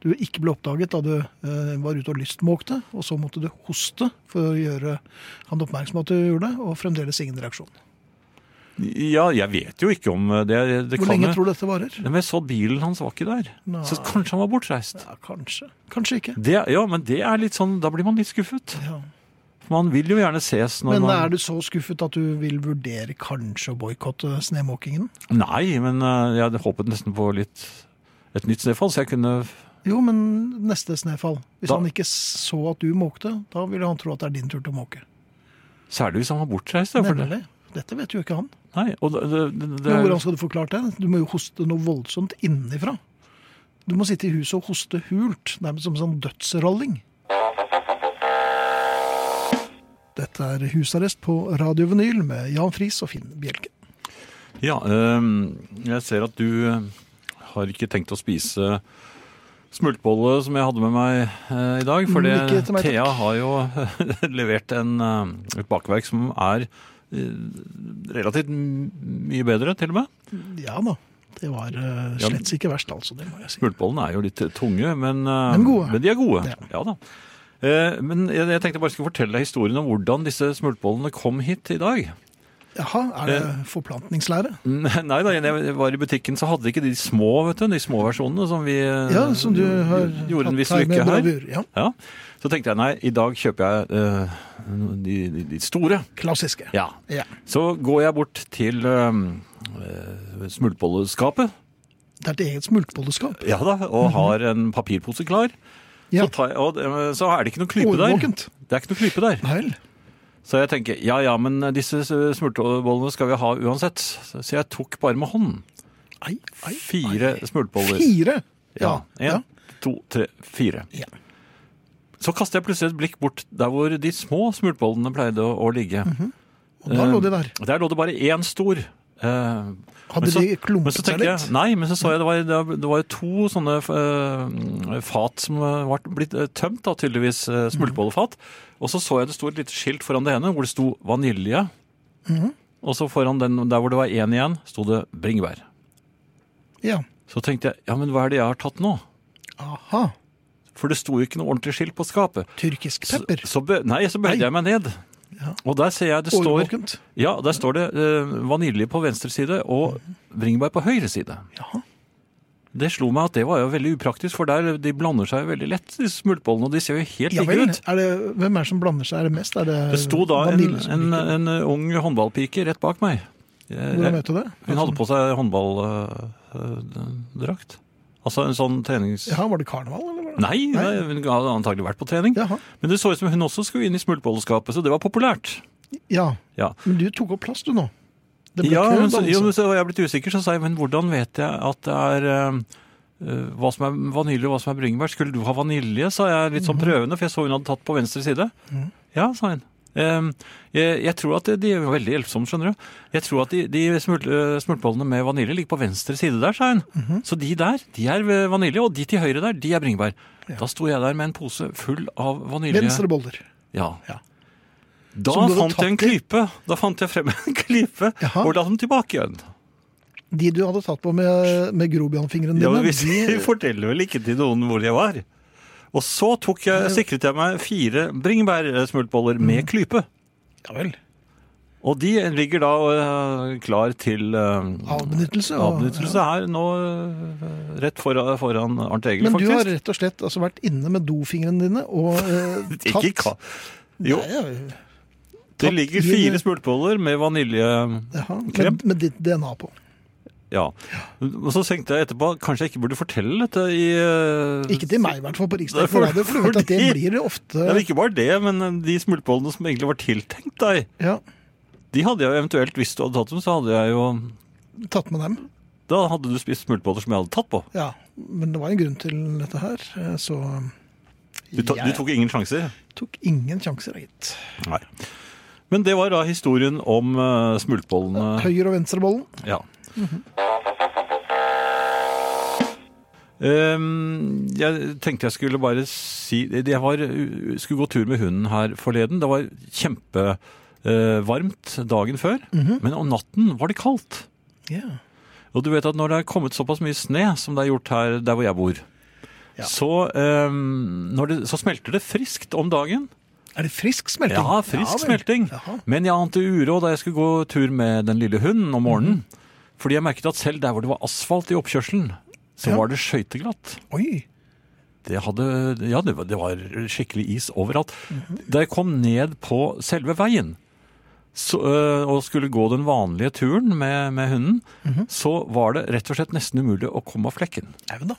Speaker 2: du ikke ble oppdaget da du eh, var ute og lystmåkte, og så måtte du hoste for å gjøre han oppmerksom på at du gjorde det, og fremdeles ingen reaksjon.
Speaker 3: Ja, jeg vet jo ikke om det. det
Speaker 2: Hvor lenge tror du dette varer?
Speaker 3: Men jeg så bilen hans var ikke der.
Speaker 2: Nei.
Speaker 3: Så kanskje han var bortreist.
Speaker 2: Ja, kanskje. Kanskje ikke.
Speaker 3: Det, ja, men det er litt sånn Da blir man litt skuffet.
Speaker 2: Ja.
Speaker 3: For man vil jo gjerne ses når
Speaker 2: Men
Speaker 3: man
Speaker 2: er du så skuffet at du vil vurdere kanskje å boikotte snemåkingen?
Speaker 3: Nei, men eh, jeg hadde håpet nesten på litt et nytt snøfall, så jeg kunne
Speaker 2: Jo, men neste snefall. Hvis
Speaker 3: Da-
Speaker 2: han ikke så at du måkte, da ville han tro at det er din tur til å måke.
Speaker 3: Særlig hvis han var bortreist. ja, for det-
Speaker 2: Nemlig. Dette vet jo ikke han.
Speaker 3: Nei, og det, det, det,
Speaker 2: Men hvordan skal du forklare det? Du må jo hoste noe voldsomt innenfra. Du må sitte i huset og hoste hult, nærmest som en sånn dødsralling. Dette er Husarrest på Radio Vinyl med Jan Friis og Finn Bjelke.
Speaker 3: Ja, øhm, jeg ser at du øh, har ikke tenkt å spise smultbolle som jeg hadde med meg øh, i dag, for
Speaker 2: Mm, ikke til meg, takk.
Speaker 3: Thea har jo levert en, øh, et bakverk som er øh, relativt m- mye bedre, til og med.
Speaker 2: Ja da, det var eh,
Speaker 3: Ja.
Speaker 2: slett ikke verst, altså. Det må jeg si.
Speaker 3: Smultbollene er jo litt tunge, men, øh,
Speaker 2: Men gode.
Speaker 3: men de er gode.
Speaker 2: Ja.
Speaker 3: Ja, da. Eh, Men jeg, jeg tenkte bare skulle fortelle deg historien om hvordan disse smultbollene kom hit i dag.
Speaker 2: Jaha, er det forplantningslære?
Speaker 3: Eh. Nei da, jeg var i butikken så hadde ikke de små, vet du, de små versjonene som vi eh,
Speaker 2: Ja, som du har
Speaker 3: gjorde en viss
Speaker 2: tatt her med
Speaker 3: lykke her.
Speaker 2: bravur. Ja,
Speaker 3: Ja. Så tenkte jeg nei, i dag kjøper jeg eh, de, de, de store.
Speaker 2: klassiske.
Speaker 3: Ja.
Speaker 2: Ja.
Speaker 3: Så går jeg bort til ehm, eh, smultbolleskapet.
Speaker 2: Det er et eget smultbolleskap.
Speaker 3: Ja da, og har en papirpose klar.
Speaker 2: Mhm. Ja.
Speaker 3: Så, tar jeg, og, eh, så er det ikke noe klype der.
Speaker 2: Årvåkent.
Speaker 3: Det er ikke noe klype der.
Speaker 2: Vel.
Speaker 3: Så jeg tenker ja ja, men disse smultbollene skal vi ha uansett. Så jeg tok bare med hånden.
Speaker 2: Ei, ei,
Speaker 3: Fire smultboller.
Speaker 2: Fire?
Speaker 3: Ja. En,
Speaker 2: ja.
Speaker 3: to, tre, fire.
Speaker 2: Ja.
Speaker 3: Så kaster jeg plutselig et blikk bort der hvor de små smultbollene pleide å, å ligge.
Speaker 2: Mhm. Og da lå de der.
Speaker 3: Der lå det bare én stor. Eh,
Speaker 2: Hadde de klumpet
Speaker 3: men så
Speaker 2: seg
Speaker 3: tenkte
Speaker 2: litt?
Speaker 3: Jeg, nei, men så så jeg det var, det var- det var jo to sånne eh, fat som var blitt eh, tømt, da, tydeligvis
Speaker 2: Mhm.
Speaker 3: eh, smultbollefat. Og så så jeg det sto et lite skilt foran det ene hvor det sto vanilje.
Speaker 2: Mhm.
Speaker 3: Og så foran den der hvor det var én igjen, sto det bringebær.
Speaker 2: Ja.
Speaker 3: Så tenkte jeg ja, men hva er det jeg har tatt nå?
Speaker 2: Aha.
Speaker 3: For det sto jo ikke noe ordentlig skilt på skapet.
Speaker 2: Tyrkisk
Speaker 3: Så,
Speaker 2: pepper.
Speaker 3: så bø- nei, så bøyde
Speaker 2: Nei.
Speaker 3: jeg meg ned. Og der ser jeg det står,
Speaker 2: Årvåkent.
Speaker 3: ja, der står det eh, vanilje på venstre side og bringebær på høyre side.
Speaker 2: Mhm. Jaha.
Speaker 3: Det slo meg at det var jo veldig upraktisk, for der de blander seg veldig lett, de smultbollene, og de ser jo helt
Speaker 2: Ja vel.
Speaker 3: like ut.
Speaker 2: Er det, hvem er det som blander seg? Er det mest? Er det,
Speaker 3: Det sto da en,
Speaker 2: vanilje som
Speaker 3: en, eh,
Speaker 2: liker?
Speaker 3: en ung håndballpike rett bak meg. Jeg-
Speaker 2: Hvordan
Speaker 3: jeg-
Speaker 2: vet du det?
Speaker 3: Hun hadde på seg håndballdrakt. Altså en sånn trenings...
Speaker 2: Jaha, var det karneval, eller? var det-
Speaker 3: Nei, nei, hun hadde antagelig vært på trening.
Speaker 2: Jaha.
Speaker 3: Men det så ut som hun også skulle inn i smultbolleskapet, så det var populært.
Speaker 2: Ja.
Speaker 3: Ja,
Speaker 2: Men du tok opp plass, du nå. Det ble
Speaker 3: ja
Speaker 2: kø,
Speaker 3: men så,
Speaker 2: da,
Speaker 3: jo,
Speaker 2: altså.
Speaker 3: men så var jeg blitt usikker, så sa jeg, men hvordan vet jeg at det er eh, eh, hva som er vanilje og hva som er bringebær? Skulle du ha vanilje, sa jeg litt sånn
Speaker 2: Mhm.
Speaker 3: prøvende, for jeg så hun hadde tatt på venstre side. Ja, sa hun. Eh, jeg, jeg tror at de- de er veldig hjelpsomme, skjønner du. Jeg tror at de, de smult, eh, smultbollene med vanilje ligger på venstre side der, sa hun.
Speaker 2: Mhm.
Speaker 3: Så de der, de er eh, vanilje, og de til høyre der, de er bringebær. Da sto jeg der med en pose full av vanilje.
Speaker 2: Venstre boller.
Speaker 3: Ja.
Speaker 2: Ja.
Speaker 3: Da
Speaker 2: Som du hadde
Speaker 3: fant jeg en
Speaker 2: tatt i?
Speaker 3: klype. Da fant jeg frem en klype
Speaker 2: Jaha.
Speaker 3: og la den tilbake igjen.
Speaker 2: De du hadde tatt på med, med grobianfingrene
Speaker 3: Ja,
Speaker 2: dine,
Speaker 3: men hvis
Speaker 2: de-
Speaker 3: jeg forteller vel ikke til noen hvor jeg var. Og så tok eh,
Speaker 2: Mm.
Speaker 3: jeg, sikret jeg meg fire bringebærsmultboller med klype.
Speaker 2: Ja vel.
Speaker 3: Og de ligger da eh, klar til eh,
Speaker 2: Avbenyttelse. og-
Speaker 3: avnyttelse her nå eh, rett foran, foran Arnt Egil,
Speaker 2: Men du har
Speaker 3: faktisk.
Speaker 2: rett og slett altså vært inne med dofingrene dine og eh, tatt
Speaker 3: Ikke ka... Jo,
Speaker 2: Nei, ja,
Speaker 3: det
Speaker 2: tatt i
Speaker 3: ligger
Speaker 2: det.
Speaker 3: fire smultboller med vanilje...
Speaker 2: jaha,
Speaker 3: Krem.
Speaker 2: med, med ditt DNA på.
Speaker 3: Ja. Og så tenkte jeg etterpå kanskje jeg ikke burde fortelle dette i eh,
Speaker 2: Ikke til meg, i hvert fall, på
Speaker 3: Nei, for-
Speaker 2: Riksdekken Radio, for du vet at det
Speaker 3: fordi-
Speaker 2: blir det
Speaker 3: Ja, men
Speaker 2: ofte
Speaker 3: ikke bare det, men eh, de smultbollene som egentlig var tiltenkt deg,
Speaker 2: ja,
Speaker 3: de hadde jeg jo eventuelt, hvis du hadde tatt dem, så hadde jeg jo
Speaker 2: tatt med dem.
Speaker 3: Da hadde du spist smultboller som jeg hadde tatt på.
Speaker 2: Ja, men det var en grunn til dette her, eh, så
Speaker 3: Du, ta, du
Speaker 2: jeg
Speaker 3: tok ingen sjanser.
Speaker 2: tok ingen sjanser, gitt.
Speaker 3: Nei. Men det var da historien om eh, smultbollene.
Speaker 2: Høyre- og venstrebollen.
Speaker 3: Ja. Ehm, jeg tenkte jeg skulle bare si Jeg var, skulle gå tur med hunden her forleden. Det var kjempevarmt dagen før, men om natten var det kaldt.
Speaker 2: Ja.
Speaker 3: Og du vet at når det er kommet såpass mye sne som det er gjort her der hvor jeg bor,
Speaker 2: Ja.
Speaker 3: så, ehm, når det, så smelter det friskt om dagen.
Speaker 2: Er det frisk smelting?
Speaker 3: Ja, frisk
Speaker 2: vel.
Speaker 3: smelting.
Speaker 2: Jaha.
Speaker 3: Men jeg ante uro da jeg skulle gå tur med den lille hunden om morgenen.
Speaker 2: Mhm.
Speaker 3: Fordi jeg merket at selv der hvor det var asfalt i oppkjørselen, så
Speaker 2: Ja.
Speaker 3: var det skøyteglatt.
Speaker 2: Oi,
Speaker 3: Det, hadde, ja, det, var, det var skikkelig is overalt.
Speaker 2: Mhm.
Speaker 3: Da jeg kom ned på selve veien så, øh, og skulle gå den vanlige turen med, med hunden,
Speaker 2: Mhm.
Speaker 3: så var det rett og slett nesten umulig å komme av flekken.
Speaker 2: Even da.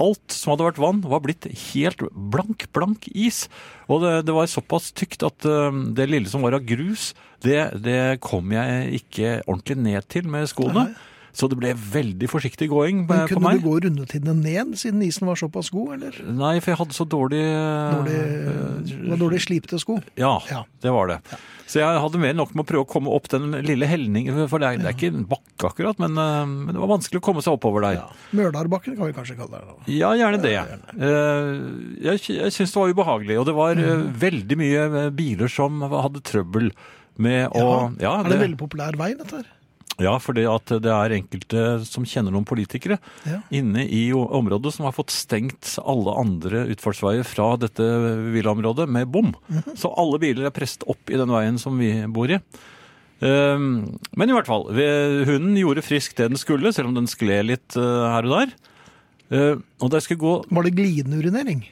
Speaker 3: Alt som hadde vært vann, var blitt helt blank, blank is. Og det, det var såpass tykt at øhm, det lille som var av grus, det, det kom jeg ikke ordentlig ned til med skoene. Så det ble veldig forsiktig gåing
Speaker 2: Men
Speaker 3: eh, på
Speaker 2: kunne
Speaker 3: meg.
Speaker 2: du gå rundetidene ned, siden isen var såpass god, eller?
Speaker 3: Nei, for jeg hadde så dårlig, Eh,
Speaker 2: Dårlig, det var dårlig slipte sko.
Speaker 3: ja,
Speaker 2: Ja.
Speaker 3: det var det. Så jeg hadde mer enn nok med å prøve å komme opp den lille helningen, for det er, det er ikke en bakke akkurat, men, eh, men det var vanskelig å komme seg oppover der.
Speaker 2: Ja. Mørdarbakken kan vi kanskje kalle det. da.
Speaker 3: Ja, gjerne det. Eh, Jeg, sy- jeg syns det var ubehagelig, og det var eh,
Speaker 2: Mm.
Speaker 3: veldig mye eh, biler som hadde trøbbel med å Ja,
Speaker 2: Er det en veldig populær vei, dette her?
Speaker 3: ja for det at det er enkelte som kjenner noen politikere
Speaker 2: Ja.
Speaker 3: inne i o- området som har fått stengt alle andre utfartsveier fra dette villaområdet med bom.
Speaker 2: Mhm.
Speaker 3: Så alle biler er presset opp i den veien som vi bor i. Ehm, Men i hvert fall, vi- hunden gjorde friskt det den skulle, selv om den skled litt eh, her og der. Eh, Og da jeg skulle gå
Speaker 2: Var det glidende urinering?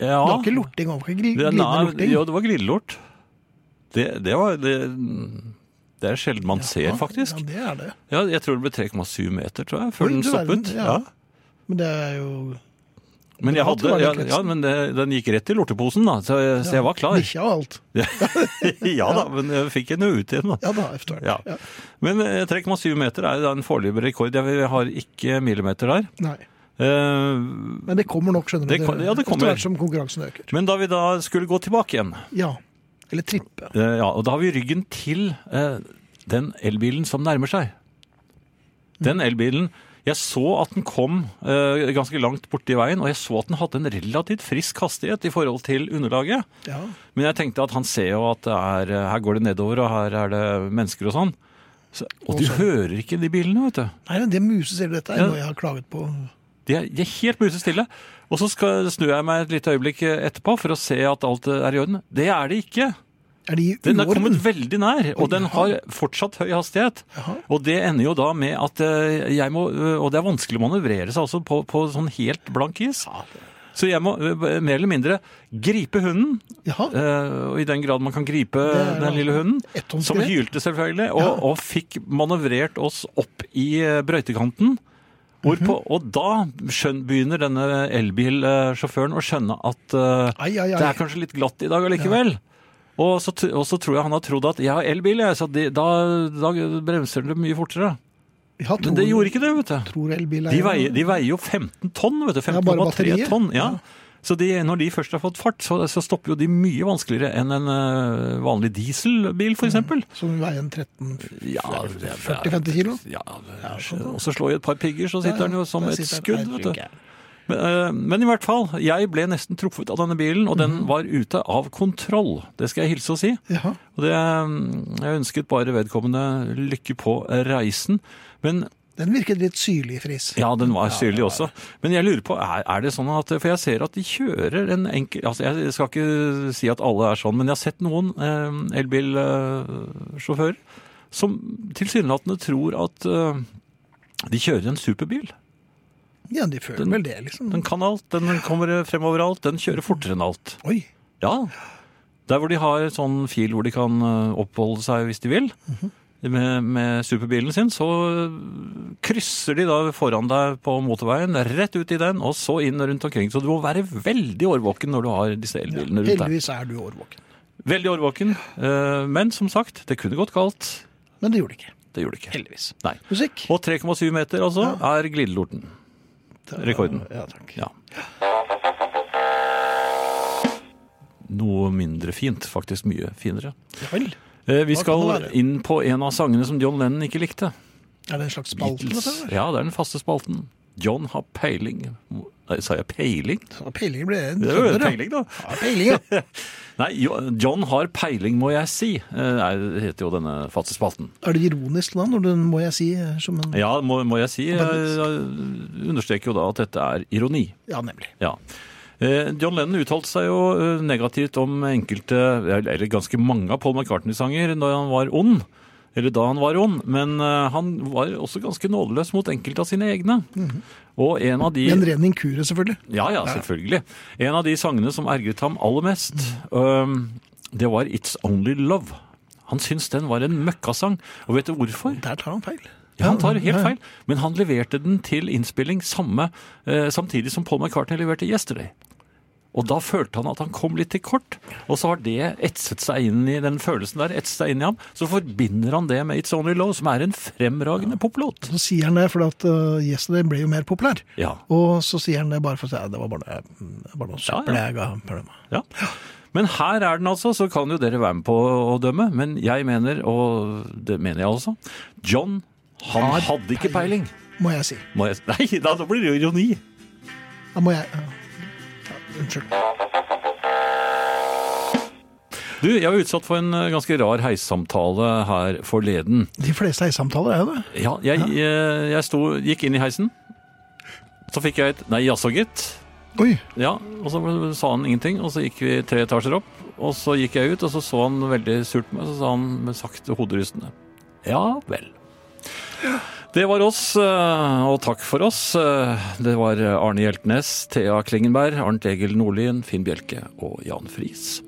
Speaker 3: ja.
Speaker 2: Det var ikke lorting over, ikke gli-
Speaker 3: Det,
Speaker 2: glidende
Speaker 3: nei,
Speaker 2: lorting.
Speaker 3: jo, det var grillelort. Det, det, var, det, det er sjelden man ser, faktisk.
Speaker 2: Ja, det er det.
Speaker 3: Ja, jeg tror det ble 3,7 meter tror jeg, før
Speaker 2: Oi,
Speaker 3: den
Speaker 2: du verden,
Speaker 3: stoppet.
Speaker 2: ja.
Speaker 3: Ja.
Speaker 2: Men det er jo
Speaker 3: Men, jeg
Speaker 2: Bra til
Speaker 3: hadde,
Speaker 2: å være
Speaker 3: ja,
Speaker 2: litt
Speaker 3: ja,
Speaker 2: voksen.
Speaker 3: men det, den gikk rett i lorteposen, da, så, jeg- så jeg var klar.
Speaker 2: bikkja og alt.
Speaker 3: ja da, men jeg fikk henne ut igjen. da.
Speaker 2: Ja da, efter hvert.
Speaker 3: Ja.
Speaker 2: Ja.
Speaker 3: Men eh, 3,7 meter er da en foreløpig rekord. Jeg har ikke millimeter der.
Speaker 2: Nei.
Speaker 3: Eh,
Speaker 2: Men det kommer nok, skjønner du.
Speaker 3: Det kan- ja, det kommer.
Speaker 2: Etter hvert som konkurransen øker.
Speaker 3: Men da vi da skulle gå tilbake igjen
Speaker 2: Ja. Eller trippe.
Speaker 3: Eh, Ja, og da har vi ryggen til eh, den elbilen som nærmer seg. Den elbilen Jeg så at den kom eh, ganske langt borti veien, og jeg så at den hadde en relativt frisk hastighet i forhold til underlaget.
Speaker 2: Ja.
Speaker 3: Men jeg tenkte at han ser jo at det er, eh, her går det nedover, og her er det mennesker og sånn. Så, og du hører ikke de bilene, vet du.
Speaker 2: Nei, men det muses hele dette er
Speaker 3: Ja.
Speaker 2: noe jeg har klaget på.
Speaker 3: De er, de er helt musestille. Og så skal, snur jeg meg et lite øyeblikk eh, etterpå for å se at alt eh, er i orden. Det er det ikke.
Speaker 2: Er de i
Speaker 3: Den er kommet
Speaker 2: uorden?
Speaker 3: veldig nær, og den
Speaker 2: Jaha.
Speaker 3: har fortsatt høy hastighet.
Speaker 2: Jaha.
Speaker 3: Og det ender jo da med at eh, jeg må eh, Og det er vanskelig å manøvrere seg altså på, på sånn helt blank is. Så jeg må eh, mer eller mindre gripe hunden,
Speaker 2: Jaha.
Speaker 3: eh, og i den grad man kan gripe
Speaker 2: er da
Speaker 3: den lille hunden,
Speaker 2: etthåndsgrep.
Speaker 3: som hylte selvfølgelig, og, og fikk manøvrert oss opp i eh, brøytekanten. Hvorpå,
Speaker 2: Mhm.
Speaker 3: Og da skjøn, begynner denne elbilsjåføren å skjønne at eh,
Speaker 2: Ai, ai, ai.
Speaker 3: det er kanskje litt glatt i dag allikevel. Og, så, t- og så tror jeg han har trodd at jeg har elbil, jeg, så de, da, da bremser det mye fortere.
Speaker 2: Ja,
Speaker 3: Men det gjorde ikke det, vet du.
Speaker 2: Tror elbileierne.
Speaker 3: De veier, de veier jo 15 tonn, vet du.
Speaker 2: Ja, bare
Speaker 3: 15,3
Speaker 2: batteriet.
Speaker 3: tonn. Ja. Så de, når de først har fått fart, så, så stopper jo de mye vanskeligere enn en eh, vanlig dieselbil,
Speaker 2: Mm.
Speaker 3: for eksempel.
Speaker 2: Som veier en 13-40-50
Speaker 3: Ja, det er-
Speaker 2: kilo.
Speaker 3: ja, og så slår jeg et par pigger, så sitter den jo som
Speaker 2: Der
Speaker 3: et
Speaker 2: sitter den.
Speaker 3: skudd,
Speaker 2: Nei,
Speaker 3: vet du. Men, eh, men i hvert fall, jeg ble nesten truffet av denne bilen, og den var ute av kontroll. Det skal jeg hilse og mm, si.
Speaker 2: Jaha.
Speaker 3: Og det, eh, jeg ønsket bare vedkommende lykke på reisen. Men
Speaker 2: Den virket litt syrlig, Friis.
Speaker 3: Ja, den var syrlig også. Men jeg lurer på, er, er det sånn at For jeg ser at de kjører en enkel altså Jeg skal ikke si at alle er sånn, men jeg har sett noen eh, elbilsjåfører som tilsynelatende tror at eh, de kjører en superbil.
Speaker 2: Ja, de føler
Speaker 3: Den-
Speaker 2: vel det, liksom.
Speaker 3: Den kan alt, den kommer frem overalt, den kjører fortere enn alt.
Speaker 2: Oi.
Speaker 3: Ja. Der hvor de har sånn fil hvor de kan eh, oppholde seg hvis de vil, med, med superbilen sin, så eh, krysser de da foran deg på motorveien, rett ut i den, og så inn rundt omkring. Så du må være veldig årvåken når du har disse elbilene rundt deg.
Speaker 2: Heldigvis er du årvåken.
Speaker 3: Veldig årvåken. eh, Men som sagt, det kunne gått galt.
Speaker 2: Men det gjorde det ikke.
Speaker 3: Det gjorde det ikke.
Speaker 2: Heldigvis.
Speaker 3: Nei.
Speaker 2: Musikk.
Speaker 3: Og 3,7 meter, altså, er glidelorten. Rekorden.
Speaker 2: Ja, takk.
Speaker 3: Ja. Noe mindre fint, faktisk mye finere.
Speaker 2: Ja vel.
Speaker 3: Eh, Vi
Speaker 2: Hva
Speaker 3: skal
Speaker 2: kan det være?
Speaker 3: inn på en av sangene som John Lennon ikke likte.
Speaker 2: Er det en slags spalte?
Speaker 3: Beatles.
Speaker 2: dette her?
Speaker 3: Ja, det er den faste spalten. John har peiling Nei, sa jeg peiling?
Speaker 2: Ja, Peiling ble en
Speaker 3: Det er jo
Speaker 2: trønder, ja.
Speaker 3: peiling, da.
Speaker 2: Ja, peiling, ja.
Speaker 3: Nei, Jo- John har peiling, må jeg si, eh, er- heter jo denne faste spalten.
Speaker 2: Er det ironisk da, når du må jeg si eh, som en
Speaker 3: Ja, må, må jeg si. Jeg, jeg understreker jo da at dette er ironi.
Speaker 2: Ja, nemlig.
Speaker 3: Ja. Eh, John Lennon uttalte seg jo eh, negativt om enkelte, eller ganske mange av Paul McCartney-sanger da han var ond. Eller da han var ond. Men eh, han var også ganske nådeløs mot enkelte av sine egne. Og en av de
Speaker 2: Med en ren inkurie, selvfølgelig.
Speaker 3: Ja, ja, selvfølgelig. En av de sangene som ergret ham aller mest, øhm, det var It's Only Love. Han syntes den var en møkkasang. Og vet du hvorfor?
Speaker 2: Der tar han feil.
Speaker 3: Ja, han tar helt feil. Men han leverte den til innspilling samme, eh, samtidig som Paul McCartney leverte Yesterday. Og da følte han at han kom litt til kort, og så har det etset seg inn i den følelsen der, etset seg inn i ham. Så forbinder han det med It's Only Love, som er en fremragende poplåt.
Speaker 2: Så sier han det fordi at uh, Yesterday ble jo mer populær.
Speaker 3: Ja.
Speaker 2: Og så sier han det bare for å si at det var bare, eh, det var noe søppel jeg ga ham. for dem».
Speaker 3: Ja. Men her er den altså, så kan jo dere være med på å dømme. Men jeg mener, og det mener jeg altså, John han
Speaker 2: Har
Speaker 3: hadde ikke peiling.
Speaker 2: Må jeg si.
Speaker 3: Må jeg, nei, da da blir det jo ironi.
Speaker 2: Da må jeg ja. Ja, Unnskyld.
Speaker 3: Du, jeg var utsatt for en eh, ganske rar heissamtale her forleden.
Speaker 2: De fleste heisamtaler er jo det.
Speaker 3: Ja, jeg, eh, jeg sto, gikk inn i heisen. Så fikk jeg et nei, jaså, gitt.
Speaker 2: Oi.
Speaker 3: Ja, og så sa han ingenting, og så gikk vi tre etasjer opp. Og så gikk jeg ut, og så så han veldig surt på meg, så sa han med sakte hoderystende Ja vel. Det var oss, eh, og takk for oss. Eh, Det var Arne Hjeltnes, Thea Klingenberg, Arnt Egil Nordlien, Finn Bjelke og Jan Friis.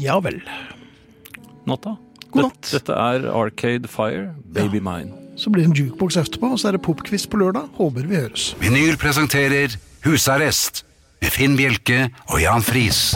Speaker 2: Ja vel.
Speaker 3: Natta.
Speaker 2: God natt.
Speaker 3: Dette, dette er Arcade Fire, Baby Mine.
Speaker 2: Så blir det en jukebox etterpå, og så er det popquiz på lørdag. Håper vi høres.
Speaker 1: Vinyl presenterer Husarrest med Finn Bjelke og Jan Friis.